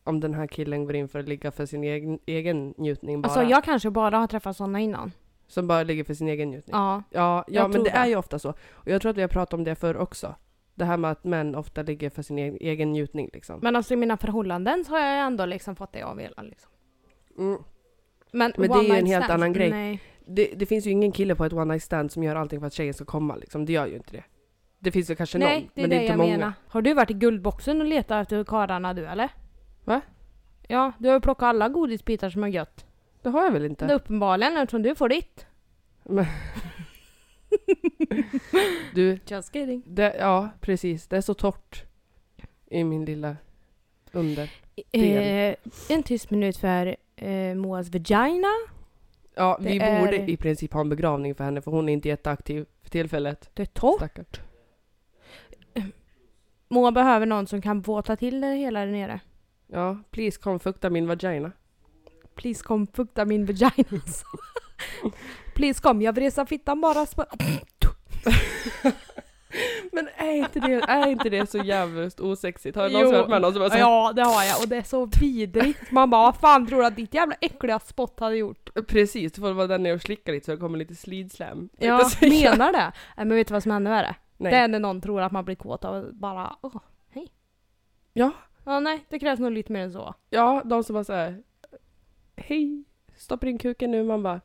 Speaker 2: om den här killen går in för att ligga för sin egen, egen njutning bara.
Speaker 1: Alltså jag kanske bara har träffat sådana innan.
Speaker 2: Som bara ligger för sin egen njutning. Ja,
Speaker 1: Ja.
Speaker 2: ja,
Speaker 1: jag
Speaker 2: men
Speaker 1: tror
Speaker 2: det
Speaker 1: det.
Speaker 2: är ju ofta så. Och jag tror att vi har pratat om det förr också. Det här med att män ofta ligger för sin egen, egen njutning liksom.
Speaker 1: Men alltså i mina förhållanden så har jag ändå liksom fått det jag vill. Liksom.
Speaker 2: Mm.
Speaker 1: Men,
Speaker 2: Men det
Speaker 1: one
Speaker 2: är ju en
Speaker 1: night
Speaker 2: helt
Speaker 1: stands,
Speaker 2: annan grej.
Speaker 1: Nej.
Speaker 2: Det, det finns ju ingen kille på ett one night stand som gör allting för att tjejen ska komma liksom. Det gör ju inte det. Det finns ju kanske någon,
Speaker 1: nej, det är
Speaker 2: men
Speaker 1: det,
Speaker 2: det är inte
Speaker 1: jag
Speaker 2: många.
Speaker 1: menar. Har du varit i Guldboxen och letat efter karlarna du eller?
Speaker 2: Va?
Speaker 1: Ja, du har ju plockat alla godisbitar som är gött.
Speaker 2: Det har jag väl inte?
Speaker 1: Det är uppenbarligen eftersom du får ditt.
Speaker 2: Du,
Speaker 1: Just kidding.
Speaker 2: det, ja precis. Det är så torrt. I min lilla under.
Speaker 1: Eh, en tyst minut för eh, Moas vagina.
Speaker 2: Ja,
Speaker 1: Det
Speaker 2: vi
Speaker 1: är-
Speaker 2: borde i princip ha en begravning för henne för hon är inte jätteaktiv för tillfället.
Speaker 1: Det är torrt.
Speaker 2: Stackars.
Speaker 1: Moa behöver någon som kan våta till det hela där nere.
Speaker 2: Ja, please kom fukta min vagina.
Speaker 1: Please kom, fukta min vagina. alltså. Please kom, jag vresar fittan bara. sp-
Speaker 2: Men är inte det, är inte det så jävligt osexigt? Har du
Speaker 1: Jo.
Speaker 2: någonsin varit med någon som bara sagt,
Speaker 1: Ja, det har jag och det är så vidrigt. Man bara, vad fan tror du att ditt jävla äckliga spott hade gjort?
Speaker 2: precis, du får vara där nere och slicka lite så det kommer lite slidslam.
Speaker 1: Ja, menar det. Nej, men vet du vad som är ännu värre?
Speaker 2: Nej.
Speaker 1: Det är när någon tror att man blir kåt av bara, åh, hej.
Speaker 2: Ja.
Speaker 1: Ja, nej, det krävs nog lite mer än så.
Speaker 2: Ja, de som bara såhär, hej, stoppa in kuken nu, man bara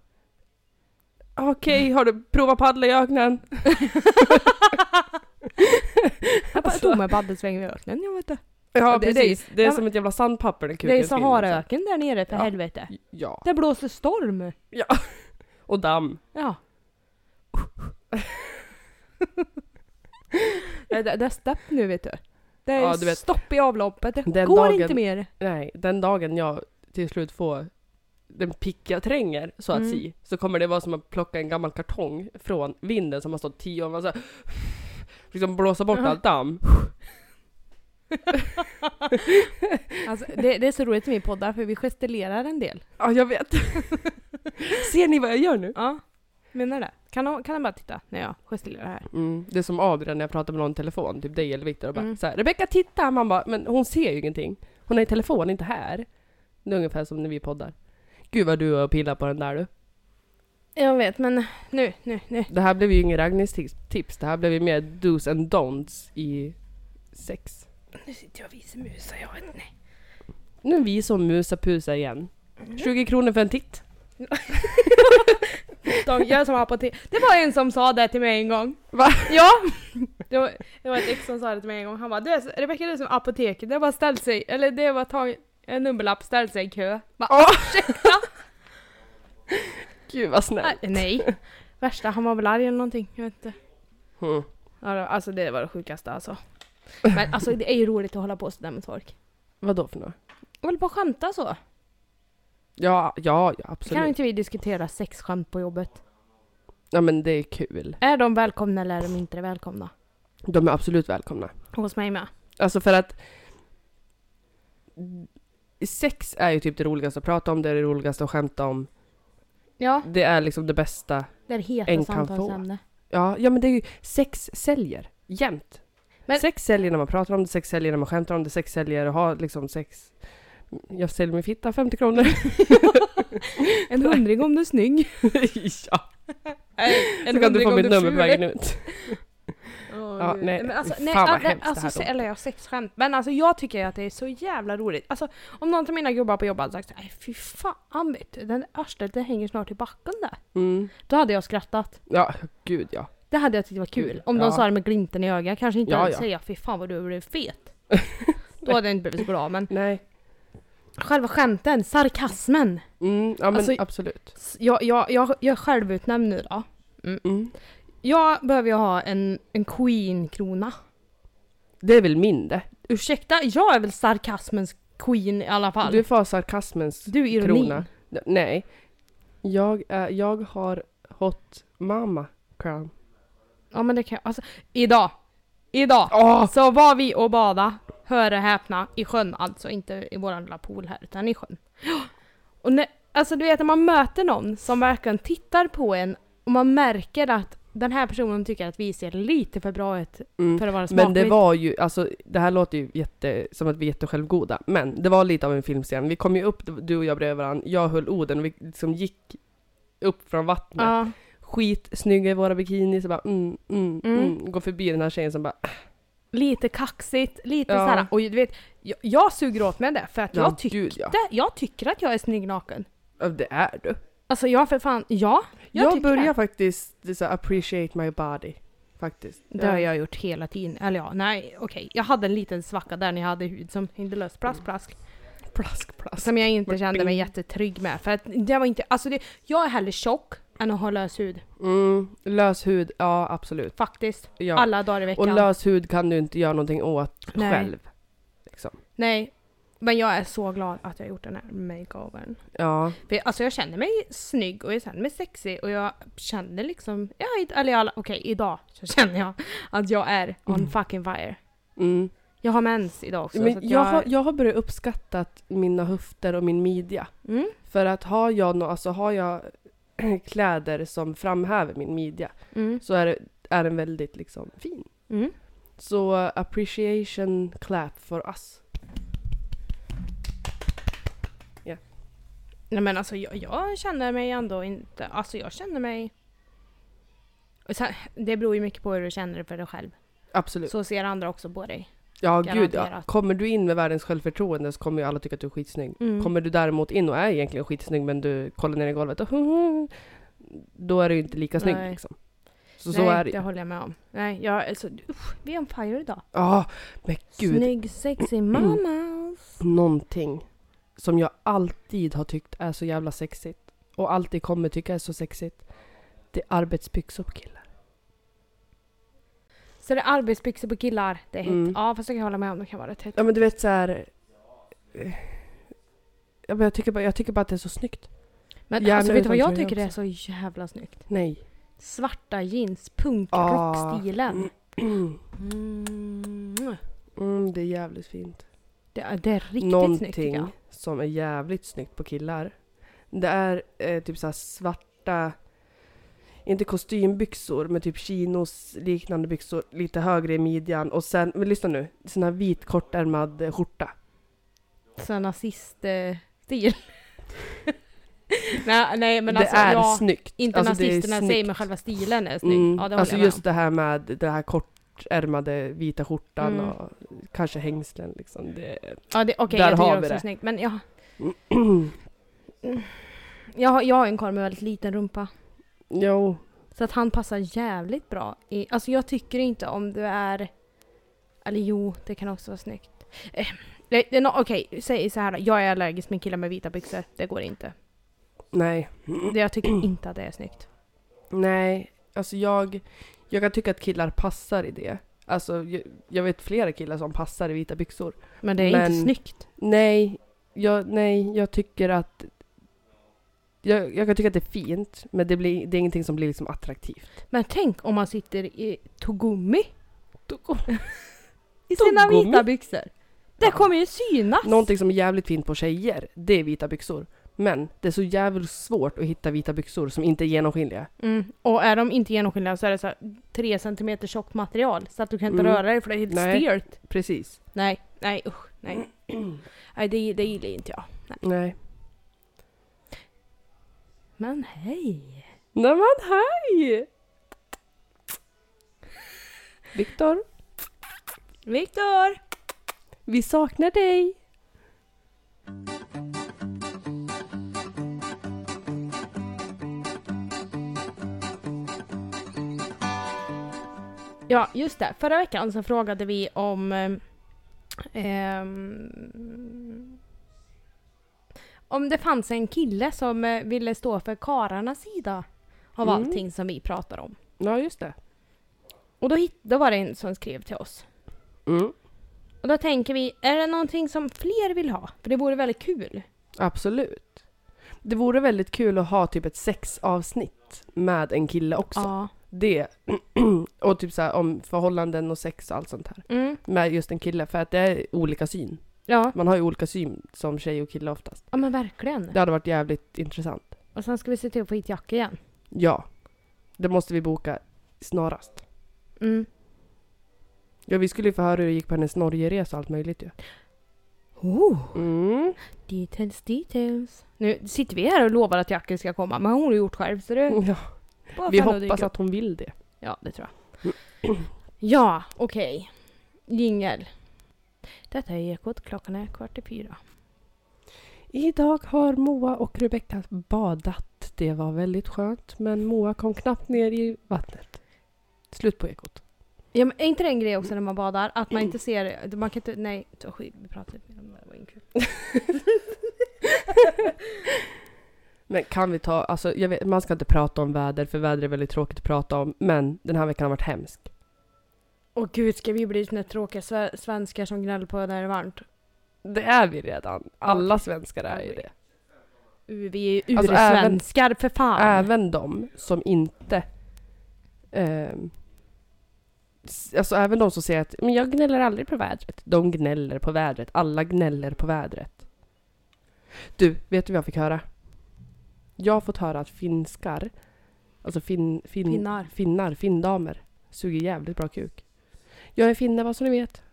Speaker 2: Okej, har du provat paddla i öknen?
Speaker 1: Jag bara
Speaker 2: Alltså.
Speaker 1: tog mig baddelsväng i öknen, jag vet inte.
Speaker 2: Ja
Speaker 1: Det är-
Speaker 2: precis, det är
Speaker 1: Ja,
Speaker 2: som ett jävla sandpapper den kuken
Speaker 1: Det är
Speaker 2: ska in,
Speaker 1: Saharaöken där nere för
Speaker 2: Ja.
Speaker 1: helvete.
Speaker 2: liksom. Ja.
Speaker 1: Det blåser storm.
Speaker 2: Och damm.
Speaker 1: Ja. det, det, det är stopp nu vet du. Det är
Speaker 2: Ja, du vet.
Speaker 1: stopp i avloppet. Det
Speaker 2: Den
Speaker 1: går
Speaker 2: dagen-
Speaker 1: inte mer.
Speaker 2: Nej, den dagen jag till slut får den pick jag tränger, så att
Speaker 1: Mm.
Speaker 2: si, så kommer det vara som att plocka en gammal kartong från vinden som har stått tio år. Man så här, liksom blåsa bort
Speaker 1: Ja.
Speaker 2: allt damm.
Speaker 1: Alltså, det, det är så roligt i min podd för vi gestikulerar en del.
Speaker 2: Ja, jag vet. Ser ni vad jag gör nu?
Speaker 1: Ja, menar det. Kan han, kan han bara titta när jag gestikulerar här?
Speaker 2: Mm, det är som Adrian när jag pratar med någon i telefon, typ dig eller Viktor och bara
Speaker 1: Mm.
Speaker 2: så här, Rebecka titta! Man bara, men hon ser ju ingenting. Hon är i telefon, inte här. Det är ungefär som när vi poddar. Gud vad du och pillar på den där du.
Speaker 1: Jag vet, men nu, nu, nu.
Speaker 2: Det här blev ju ingen Ragnhilds tips, tips, det här blev ju mer dos and don'ts i sex.
Speaker 1: Nu sitter jag och visemusar, jag vet nej.
Speaker 2: Nu är vi som musapusa igen.
Speaker 1: Mm.
Speaker 2: 20 kronor för en titt.
Speaker 1: De gör som apotek. Det var en som sa det till mig en gång.
Speaker 2: Va?
Speaker 1: Ja! Det var, det var ett ex som sa det till mig en gång. Han bara, du är, så- Rebecka du är som apoteket. Det var ställt sig, eller det var tagit en nummerlapp, ställt sig i kö. Bara,
Speaker 2: Åh!
Speaker 1: ursäkta!
Speaker 2: Gud vad snällt.
Speaker 1: Nej, Nej. Värsta, han var väl arg eller någonting. Jag vet inte.
Speaker 2: Mm.
Speaker 1: Ja, det- Alltså det var det sjukaste alltså. Men alltså det är ju roligt att hålla på sådär med folk.
Speaker 2: Vadå för något?
Speaker 1: Jag vill bara skämta så.
Speaker 2: Ja, ja, ja
Speaker 1: Kan
Speaker 2: absolut.
Speaker 1: inte vi diskutera sexskämt på jobbet?
Speaker 2: Ja men det är kul.
Speaker 1: Är de välkomna eller är de inte välkomna?
Speaker 2: De är absolut välkomna.
Speaker 1: Hos mig med.
Speaker 2: Alltså för att sex är ju typ det roligaste att prata om, det är det roligaste att skämta om.
Speaker 1: Ja,
Speaker 2: Det är liksom det bästa.
Speaker 1: det är heta
Speaker 2: En kan få.
Speaker 1: samtalsämne.
Speaker 2: Ja, ja men det är ju, sex säljer. Jämt.
Speaker 1: Men-
Speaker 2: Sex säljer när man pratar om det, sex säljer när man skämtar om det, sex säljer att ha liksom sex. Jag säljer min fitta 50 kronor.
Speaker 1: En hundring om du är snygg.
Speaker 2: ja,
Speaker 1: Nej,
Speaker 2: så kan du få mitt nummer på vägen ut. Ja,
Speaker 1: ja,
Speaker 2: nej,
Speaker 1: nej, men alltså,
Speaker 2: fy
Speaker 1: nej,
Speaker 2: fan vad
Speaker 1: ja, nej,
Speaker 2: hemskt det
Speaker 1: alltså,
Speaker 2: här
Speaker 1: se-
Speaker 2: låter.
Speaker 1: eller jag sexskämt. Men alltså jag tycker ju att det är så jävla roligt. Alltså om någon av mina gubbar på jobbet hade sagt nej fy fan vet du, den arslet det hänger snart i backen där.
Speaker 2: Mm.
Speaker 1: Då hade jag skrattat.
Speaker 2: Ja, gud ja.
Speaker 1: Det hade jag tyckt var kul. Om
Speaker 2: Ja.
Speaker 1: de sa det med glimten i ögat. Kanske inte
Speaker 2: Ja,
Speaker 1: ens
Speaker 2: ja.
Speaker 1: säga fy fan vad du blev fet. Då hade jag inte blivit så glad men
Speaker 2: Nej.
Speaker 1: själva skämten, sarkasmen.
Speaker 2: Mm, ja men
Speaker 1: Alltså-
Speaker 2: absolut.
Speaker 1: S- Jag, jag, jag, jag är självutnämnd nu då.
Speaker 2: Mm.
Speaker 1: Jag behöver ju ha en, en queen-krona.
Speaker 2: Det är väl min det.
Speaker 1: Ursäkta, jag är väl sarkasmens queen i alla fall.
Speaker 2: Du
Speaker 1: Du,
Speaker 2: får ha sarkasmens
Speaker 1: du är ironin.
Speaker 2: krona. Nej. Jag, är, jag har hot mama crown.
Speaker 1: Ja men det kan jag, alltså, idag. Idag.
Speaker 2: Åh!
Speaker 1: Så var vi och bada, hör och häpna, i sjön alltså. Inte i våran lilla pool här, utan i sjön. Ja. Och när, alltså du vet när man möter någon som verkligen tittar på en och man märker att den här personen tycker att vi ser lite för bra ut
Speaker 2: Mm.
Speaker 1: för att vara smakligt.
Speaker 2: Men det var ju, alltså det här låter ju jätte, som att vi är jättesjälvgoda, men det var lite av en filmscen. Vi kom ju upp, du och jag bredvid varandra, jag höll oden och vi liksom gick upp från vattnet.
Speaker 1: Ja.
Speaker 2: Skitsnygga i våra bikinis och bara mm, mm, mm,
Speaker 1: Mm.
Speaker 2: Går förbi den här tjejen som bara,
Speaker 1: Lite kaxigt, lite
Speaker 2: Ja.
Speaker 1: såhär. Och du vet, jag, jag suger åt mig det för att jag, tyckte,
Speaker 2: gud ja.
Speaker 1: jag tycker att jag är snygg naken.
Speaker 2: Ja, Det är du.
Speaker 1: Alltså jag för fan, ja.
Speaker 2: Jag,
Speaker 1: Jag
Speaker 2: jag
Speaker 1: tycker
Speaker 2: börjar
Speaker 1: det.
Speaker 2: faktiskt det är så här, appreciate my body. Faktiskt.
Speaker 1: Det har jag gjort hela tiden. Eller ja, nej okej. Jag hade en liten svacka där när jag hade hud som inte löst plask
Speaker 2: Mm.
Speaker 1: plask.
Speaker 2: Plask, plask.
Speaker 1: Som jag inte
Speaker 2: Vart
Speaker 1: kände mig
Speaker 2: bing.
Speaker 1: jättetrygg med. För att det var inte, alltså det, jag är hellre tjock än att ha lös hud.
Speaker 2: Mm, lös hud, ja absolut.
Speaker 1: Faktiskt.
Speaker 2: Ja.
Speaker 1: Alla dagar i
Speaker 2: och
Speaker 1: veckan.
Speaker 2: lös hud kan du inte göra någonting åt
Speaker 1: Nej.
Speaker 2: själv. Liksom.
Speaker 1: nej. Men jag är så glad att jag gjort den här makeovern.
Speaker 2: Ja.
Speaker 1: För, alltså jag känner mig snygg och jag känner mig sexig och jag känner liksom, ja, i- eller jag- okej idag så känner jag att jag är on
Speaker 2: Mm.
Speaker 1: fucking fire.
Speaker 2: Mm.
Speaker 1: Jag har mens idag också. så
Speaker 2: Men
Speaker 1: att
Speaker 2: jag, har, jag har börjat uppskatta mina höfter och min midja.
Speaker 1: Mm,
Speaker 2: För att har jag, nå alltså har jag kläder som framhäver min midja
Speaker 1: mm,
Speaker 2: så är, det- är den väldigt liksom fin.
Speaker 1: mm.
Speaker 2: Så eh, appreciation clap for us.
Speaker 1: Nej men alltså jag, jag känner mig ändå inte, alltså jag känner mig... Och sen- Det beror ju mycket på hur du känner för dig själv.
Speaker 2: Absolut.
Speaker 1: Så ser andra också på dig.
Speaker 2: ja, gud ja.
Speaker 1: garanterat.
Speaker 2: Kommer du in med världens självförtroende så kommer ju alla tycka att du är skitsnygg.
Speaker 1: Mm.
Speaker 2: Kommer du däremot in och är egentligen skitsnygg men du kollar ner i golvet och då är du ju inte lika snygg
Speaker 1: Nej.
Speaker 2: liksom. Så, så är det
Speaker 1: det
Speaker 2: ju.
Speaker 1: håller jag med om. Nej, jag, alltså, usch, vi är on fire idag.
Speaker 2: Ja, men gud. Mm.
Speaker 1: Snygg, sexig mamma.
Speaker 2: Någonting som jag alltid har tyckt är så jävla sexigt och alltid kommer tycka är så sexigt. Det är arbetsbyxor på killar.
Speaker 1: Så det är arbetsbyxor på killar. Det är hett.
Speaker 2: Mm.
Speaker 1: Ja, fast jag kan hålla med om det kan vara rätt hett.
Speaker 2: Ja men du vet så här. eh, Ja, men jag, tycker bara, jag tycker bara att det är så snyggt.
Speaker 1: Men
Speaker 2: gärna
Speaker 1: alltså, vet du vad
Speaker 2: utan
Speaker 1: jag
Speaker 2: tröja
Speaker 1: tycker det är så jävla snyggt?
Speaker 2: Nej.
Speaker 1: Svarta jeans, punk,
Speaker 2: Ah.
Speaker 1: rockstilen. Mm.
Speaker 2: Mm, det är jävligt fint.
Speaker 1: Det, är- det är riktigt snyggt tycker jag.
Speaker 2: Någonting som är jävligt snyggt på killar. Det är eh, typ så här svarta, inte kostymbyxor, men typ chinos liknande byxor lite högre i midjan och sen, men lyssna nu, sån här vit kortärmad eh, skjorta.
Speaker 1: Så nazist-stil. nej, nej, men
Speaker 2: det
Speaker 1: alltså
Speaker 2: är
Speaker 1: ja,
Speaker 2: snyggt.
Speaker 1: inte
Speaker 2: Alltså, det är
Speaker 1: nazisterna i sig, men
Speaker 2: snyggt.
Speaker 1: själva stilen är snygg.
Speaker 2: Mm.
Speaker 1: Ja, det håller
Speaker 2: alltså
Speaker 1: jag med
Speaker 2: just
Speaker 1: om.
Speaker 2: det här med det här kortärmade vita skjortan
Speaker 1: Mm.
Speaker 2: och kanske hängslen liksom. Det...
Speaker 1: Ja, det, okej,
Speaker 2: Där
Speaker 1: jag tycker
Speaker 2: har
Speaker 1: det
Speaker 2: vi
Speaker 1: också är
Speaker 2: det.
Speaker 1: snyggt. Men jag, jag, har- jag har en karl med väldigt liten rumpa.
Speaker 2: jo.
Speaker 1: Så att han passar jävligt bra. I, alltså jag tycker inte om du är... Eller jo, det kan också vara snyggt. Eh, nej, det är nå- Okej, säg så här då. Jag är allergisk med killar med vita byxor. Det går inte.
Speaker 2: Nej.
Speaker 1: Det, jag tycker inte att det är snyggt.
Speaker 2: Nej. Alltså jag, jag kan tycka att killar passar i det. Alltså jag, jag vet flera killar som passar i vita byxor.
Speaker 1: Men det är
Speaker 2: Men-
Speaker 1: inte snyggt.
Speaker 2: Nej, jag, nej, jag tycker att jag, jag kan tycka att det är fint, men det, blir, det är ingenting som blir liksom attraktivt.
Speaker 1: Men tänk om man sitter i togummi. I
Speaker 2: Togummi?
Speaker 1: sina vita byxor. Det
Speaker 2: Ja.
Speaker 1: kommer ju synas!
Speaker 2: Någonting som är jävligt fint på tjejer, det är vita byxor. Men det är så jävligt svårt att hitta vita byxor som inte är genomskinliga.
Speaker 1: Mm. Och är de inte genomskinliga så är det så här, 3 cm tjockt material. Så att du kan inte
Speaker 2: Mm.
Speaker 1: röra dig för det är helt
Speaker 2: Nej.
Speaker 1: stelt.
Speaker 2: Precis.
Speaker 1: Nej, nej usch, nej. nej det, det gillar inte jag.
Speaker 2: Nej.
Speaker 1: Men hej!
Speaker 2: Nej men hej! Viktor,
Speaker 1: Viktor!
Speaker 2: vi saknar dig.
Speaker 1: Ja, just det. Förra veckan så frågade vi om... ehm, ehm, om det fanns en kille som eh, ville stå för kararnas sida av
Speaker 2: Mm.
Speaker 1: allting som vi pratar om.
Speaker 2: Ja, just det.
Speaker 1: Och då, hitt- då var det en som skrev till oss.
Speaker 2: Mm.
Speaker 1: Och då tänker vi, är det någonting som fler vill ha? För det vore väldigt kul.
Speaker 2: Absolut. Det vore väldigt kul att ha typ ett sexavsnitt med en kille också.
Speaker 1: Ja.
Speaker 2: Det, och typ så här om förhållanden och sex och allt sånt här.
Speaker 1: Mm.
Speaker 2: Med just en kille, för att det är olika syn.
Speaker 1: Ja.
Speaker 2: Man har ju olika syn som tjej och kille oftast.
Speaker 1: ja, men verkligen.
Speaker 2: Det hade varit jävligt intressant.
Speaker 1: Och sen ska vi se till att få hit Jack igen.
Speaker 2: Ja. Det måste vi boka snarast.
Speaker 1: Mm.
Speaker 2: Ja, vi skulle ju få höra hur det gick på hennes Norgeresa och allt möjligt ju.
Speaker 1: Oh.
Speaker 2: Mm.
Speaker 1: Details, details. Nu sitter vi här och lovar att Jackie ska komma, men hon har gjort själv så det...
Speaker 2: Ja.
Speaker 1: Bara
Speaker 2: Vi
Speaker 1: fan Oh. att
Speaker 2: hoppas
Speaker 1: dyka upp.
Speaker 2: att hon vill det.
Speaker 1: Ja, det tror jag. Ja, okej. Jingel. Detta är Ekot, klockan är kvart i fyra.
Speaker 2: Idag har Moa och Rebecka badat. Det var väldigt skönt, men Moa kom knappt ner i vattnet. Slut på ekot.
Speaker 1: Ja, men är inte det en grej också när man badar? Att man inte ser... Man kan inte... Nej, så skit. Vi pratar inte mer om det. Det var inte kul.
Speaker 2: Men kan vi ta, alltså jag vet, man ska inte prata om väder för väder är väldigt tråkigt att prata om. Men den här veckan har varit hemsk.
Speaker 1: Åh gud, ska vi bli såna tråkiga sve- svenskar som gnäller på när det är varmt?
Speaker 2: Det är vi redan. Alla svenskar är ju det.
Speaker 1: Uh, Vi är ju
Speaker 2: Alltså,
Speaker 1: ursvenskar för fan!
Speaker 2: Även de som inte... ehm, s- alltså även de som säger att men jag gnäller aldrig på vädret. De gnäller på vädret. Alla gnäller på vädret. Du, vet du vad jag fick höra? Jag har fått höra att finskar, alltså fin, fin,
Speaker 1: Finnar.
Speaker 2: finnar, findamer, suger jävligt bra kuk. Jag är finne vad som ni vet.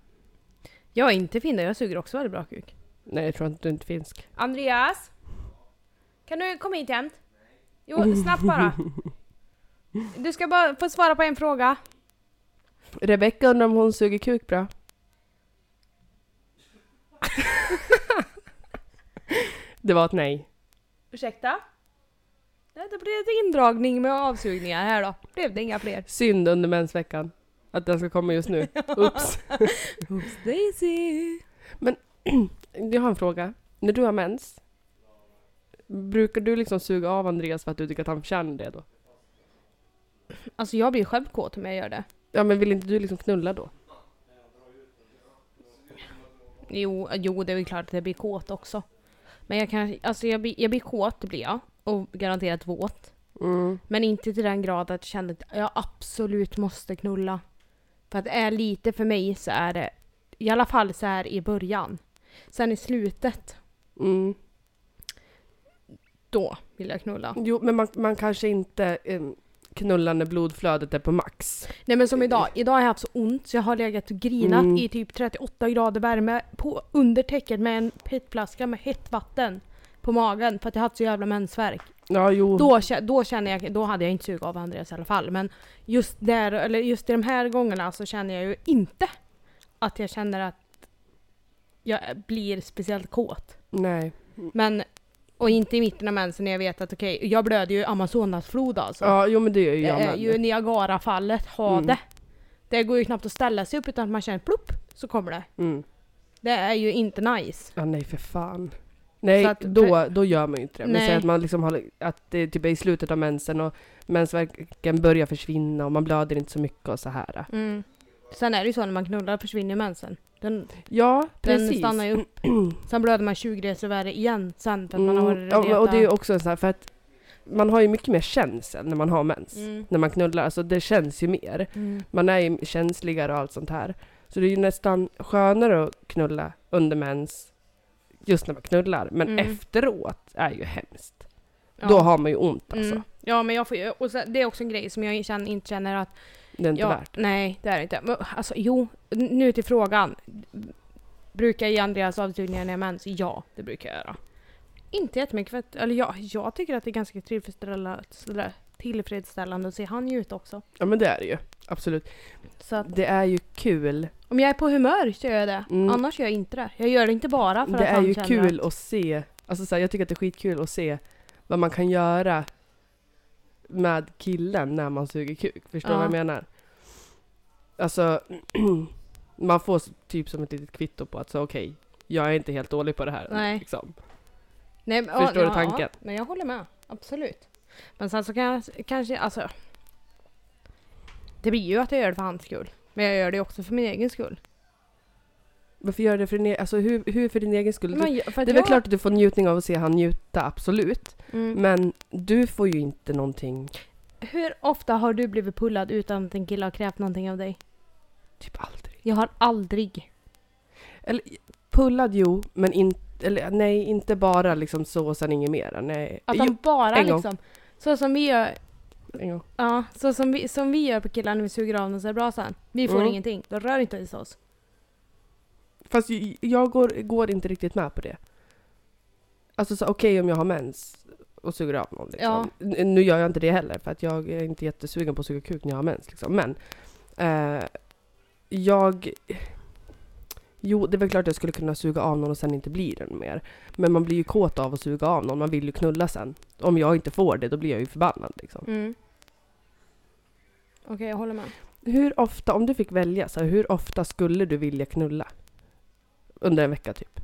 Speaker 1: Jag är inte finne, jag suger också väldigt bra kuk.
Speaker 2: Nej, jag tror inte du är inte finsk.
Speaker 1: Andreas! Kan du komma hit jämt? Jo, snabbt bara. Du ska bara få svara på en fråga.
Speaker 2: Rebecka undrar om hon suger kuk bra. Det var ett nej.
Speaker 1: Ursäkta? Nej, det blev ett indragning med avsugningar här då. Blev det inga fler.
Speaker 2: Synd under mensveckan. Att den ska komma just nu. Ups.
Speaker 1: Oops Daisy!
Speaker 2: Jag har en fråga. När du har mens, brukar du liksom suga av Andreas för att du tycker att han förtjänar det då?
Speaker 1: Alltså jag blir själv kåt om jag gör det.
Speaker 2: Ja men vill inte du liksom knulla då?
Speaker 1: Jo, jo det är väl klart att jag blir kåt också. Men jag kan, alltså jag blir, jag blir kåt, det blir jag. Och garanterat våt.
Speaker 2: Mm.
Speaker 1: Men inte till den grad att jag känner att jag absolut måste knulla. För att det är lite för mig så är det, i alla fall så här i början. Sen i slutet,
Speaker 2: Mm.
Speaker 1: då vill jag knulla.
Speaker 2: Jo men man, man kanske inte um, knullar när blodflödet är på max.
Speaker 1: Nej men som idag, idag har jag haft så ont så jag har legat och grinat
Speaker 2: Mm.
Speaker 1: i typ 38 grader värme på undertäcket med en petflaska med hett vatten på magen för att jag haft så jävla mensvärk.
Speaker 2: Ja jo.
Speaker 1: Då, kä- då känner jag, då hade jag inte sug av Andreas i alla fall men just där, eller just i de här gångerna så känner jag ju inte att jag känner att jag blir speciellt kåt.
Speaker 2: Nej.
Speaker 1: Men, och inte i mitten av mensen när jag vet att okej, jag blöder ju i Amazonasflod alltså.
Speaker 2: Ja jo men det gör ju
Speaker 1: Det
Speaker 2: jag
Speaker 1: är
Speaker 2: med.
Speaker 1: ju Niagarafallet, ha
Speaker 2: Mm.
Speaker 1: det. Det går ju knappt att ställa sig upp utan att man känner plopp, så kommer det.
Speaker 2: Mm.
Speaker 1: Det är ju inte nice.
Speaker 2: Ja nej för fan. Nej,
Speaker 1: Så att-
Speaker 2: då, då gör man ju inte det. Men
Speaker 1: Nej.
Speaker 2: säg att man liksom har, att det typ är i slutet av mensen och mensvärken börjar försvinna och man blöder inte så mycket och så här.
Speaker 1: Sen är det ju så när man knullar försvinner mensen. Den,
Speaker 2: Ja,
Speaker 1: den
Speaker 2: precis.
Speaker 1: stannar ju upp. Sen blöder man 20 resor värre igen sen för att man har
Speaker 2: Mm,
Speaker 1: varit
Speaker 2: ja, och det är ju
Speaker 1: retar.
Speaker 2: också så här för att man har ju mycket mer känsel när man har mens.
Speaker 1: Mm.
Speaker 2: När man knullar, alltså det känns ju mer.
Speaker 1: Mm.
Speaker 2: Man är ju känsligare och allt sånt här. Så det är ju nästan skönare att knulla under mens just när man knullar. Men
Speaker 1: Mm.
Speaker 2: efteråt är ju hemskt.
Speaker 1: Ja.
Speaker 2: Då har man ju ont alltså.
Speaker 1: Mm. Ja men jag får ju, och sen, det är också en grej som jag känner, inte känner att
Speaker 2: Det är inte
Speaker 1: ja,
Speaker 2: värt.
Speaker 1: Nej, det är det inte. Men, Alltså jo, n- nu till frågan. Brukar jag ge Andreas avsugningar när jag har mens? Ja, det brukar jag göra. Inte jättemycket för att, eller jag, jag tycker att det är ganska tillfredsställande, sådär, tillfredsställande att se han njuta också.
Speaker 2: Ja men det är det ju. Absolut.
Speaker 1: Så att
Speaker 2: Det är ju kul.
Speaker 1: om jag är på humör så gör jag det.
Speaker 2: Mm.
Speaker 1: Annars gör jag inte det. Jag gör det inte bara för
Speaker 2: Det
Speaker 1: att
Speaker 2: är
Speaker 1: han
Speaker 2: ju
Speaker 1: känner
Speaker 2: kul att se. Alltså så här, jag tycker att det är skitkul att se vad man kan göra med killen när man suger kuk. Förstår du
Speaker 1: Ja.
Speaker 2: vad jag menar? Alltså man får s- typ som ett litet kvitto på att så okej, jag är inte helt dålig på det här.
Speaker 1: Nej.
Speaker 2: Liksom.
Speaker 1: Att, nej, men-
Speaker 2: Förstår du tanken?
Speaker 1: Ja, men jag håller med. Absolut. Men sen så kan jag kanske, alltså. Det blir ju att jag gör det för hans skull. Men jag gör det ju också för min egen skull.
Speaker 2: Varför gör du det för din, e- alltså, hur, hur för din egen skull?
Speaker 1: Men, jag- för att
Speaker 2: det är väl
Speaker 1: jag-
Speaker 2: klart att du får njutning av att se han njuta, absolut.
Speaker 1: Mm.
Speaker 2: Men du får ju inte någonting,
Speaker 1: Hur ofta har du blivit pullad utan att en kille har krävt någonting av dig?
Speaker 2: typ aldrig.
Speaker 1: Jag har aldrig.
Speaker 2: Eller pullad jo, men inte, eller nej, inte bara liksom så och sen inget mera. Nej.
Speaker 1: Att han bara
Speaker 2: en gång.
Speaker 1: liksom... Så som vi gör...
Speaker 2: Jo, en gång.
Speaker 1: Ja, så som vi, som vi gör på killar när vi suger av dem så är det bra sen. Vi får
Speaker 2: Mm.
Speaker 1: ingenting. De rör inte ens oss.
Speaker 2: Fast ju- jag går, går inte riktigt med på det. Alltså så, okej om jag har mens och suger av någon liksom. N- Nu gör jag inte det heller för att jag är inte jättesugen på att suga kuk när jag har mens liksom. Men eh, jag... Jo, det är väl klart jag skulle kunna suga av någon och sen inte bli den mer. Men man blir ju kåt av att suga av någon, man vill ju knulla sen. Om jag inte får det, då blir jag ju förbannad liksom.
Speaker 1: Mm. Okej, jag håller med.
Speaker 2: Hur ofta, om du fick välja, så här, hur ofta skulle du vilja knulla? Under en vecka typ.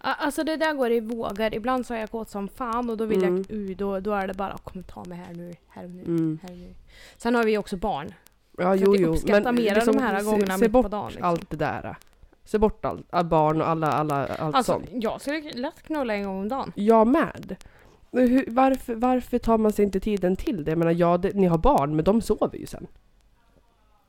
Speaker 1: A- Alltså det där går i vågor. Ibland så är jag kåt som fan och då vill
Speaker 2: Mm.
Speaker 1: jag... Uh, då, då är det bara kom ta mig här nu, här och nu,
Speaker 2: Mm.
Speaker 1: här och nu. Sen har vi ju också barn. Så
Speaker 2: Ja, jo,
Speaker 1: att jag
Speaker 2: jo. liksom
Speaker 1: uppskattar mera de här
Speaker 2: se-
Speaker 1: gångerna
Speaker 2: se
Speaker 1: mitt på
Speaker 2: bort
Speaker 1: dagen, liksom.
Speaker 2: allt det där. Se bort allt, all barn och alla, alla, allt
Speaker 1: Alltså,
Speaker 2: sånt.
Speaker 1: jag skulle lätt knulla en gång om dagen.
Speaker 2: Jag med. Men Hur, varför, varför tar man sig inte tiden till det? Jag menar, ja, det, ni har barn, men de sover ju sen.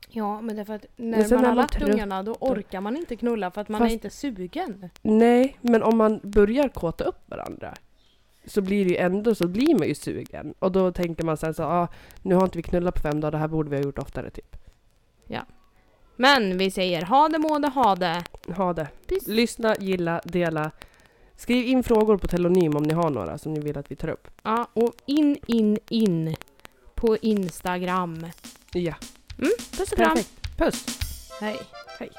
Speaker 1: Ja, men det är för att
Speaker 2: Men
Speaker 1: när
Speaker 2: sen
Speaker 1: man
Speaker 2: är
Speaker 1: har
Speaker 2: man
Speaker 1: lagt
Speaker 2: trött
Speaker 1: ungarna då orkar man inte knulla för att man
Speaker 2: Fast-
Speaker 1: är inte sugen.
Speaker 2: Nej, men om man börjar kåta upp varandra så blir det ju ändå så blir man ju sugen. Och då tänker man sen så ah, nu har inte vi knullat på fem dagar, det här borde vi ha gjort oftare typ.
Speaker 1: Men vi säger ha det må det ha det.
Speaker 2: Ha det.
Speaker 1: Puss.
Speaker 2: Lyssna, gilla, dela. Skriv in frågor på telonym om ni har några som ni vill att vi tar upp.
Speaker 1: Ja, och in, in, in på Instagram.
Speaker 2: Ja,
Speaker 1: Puss och kram.
Speaker 2: perfekt. Puss!
Speaker 1: Hej.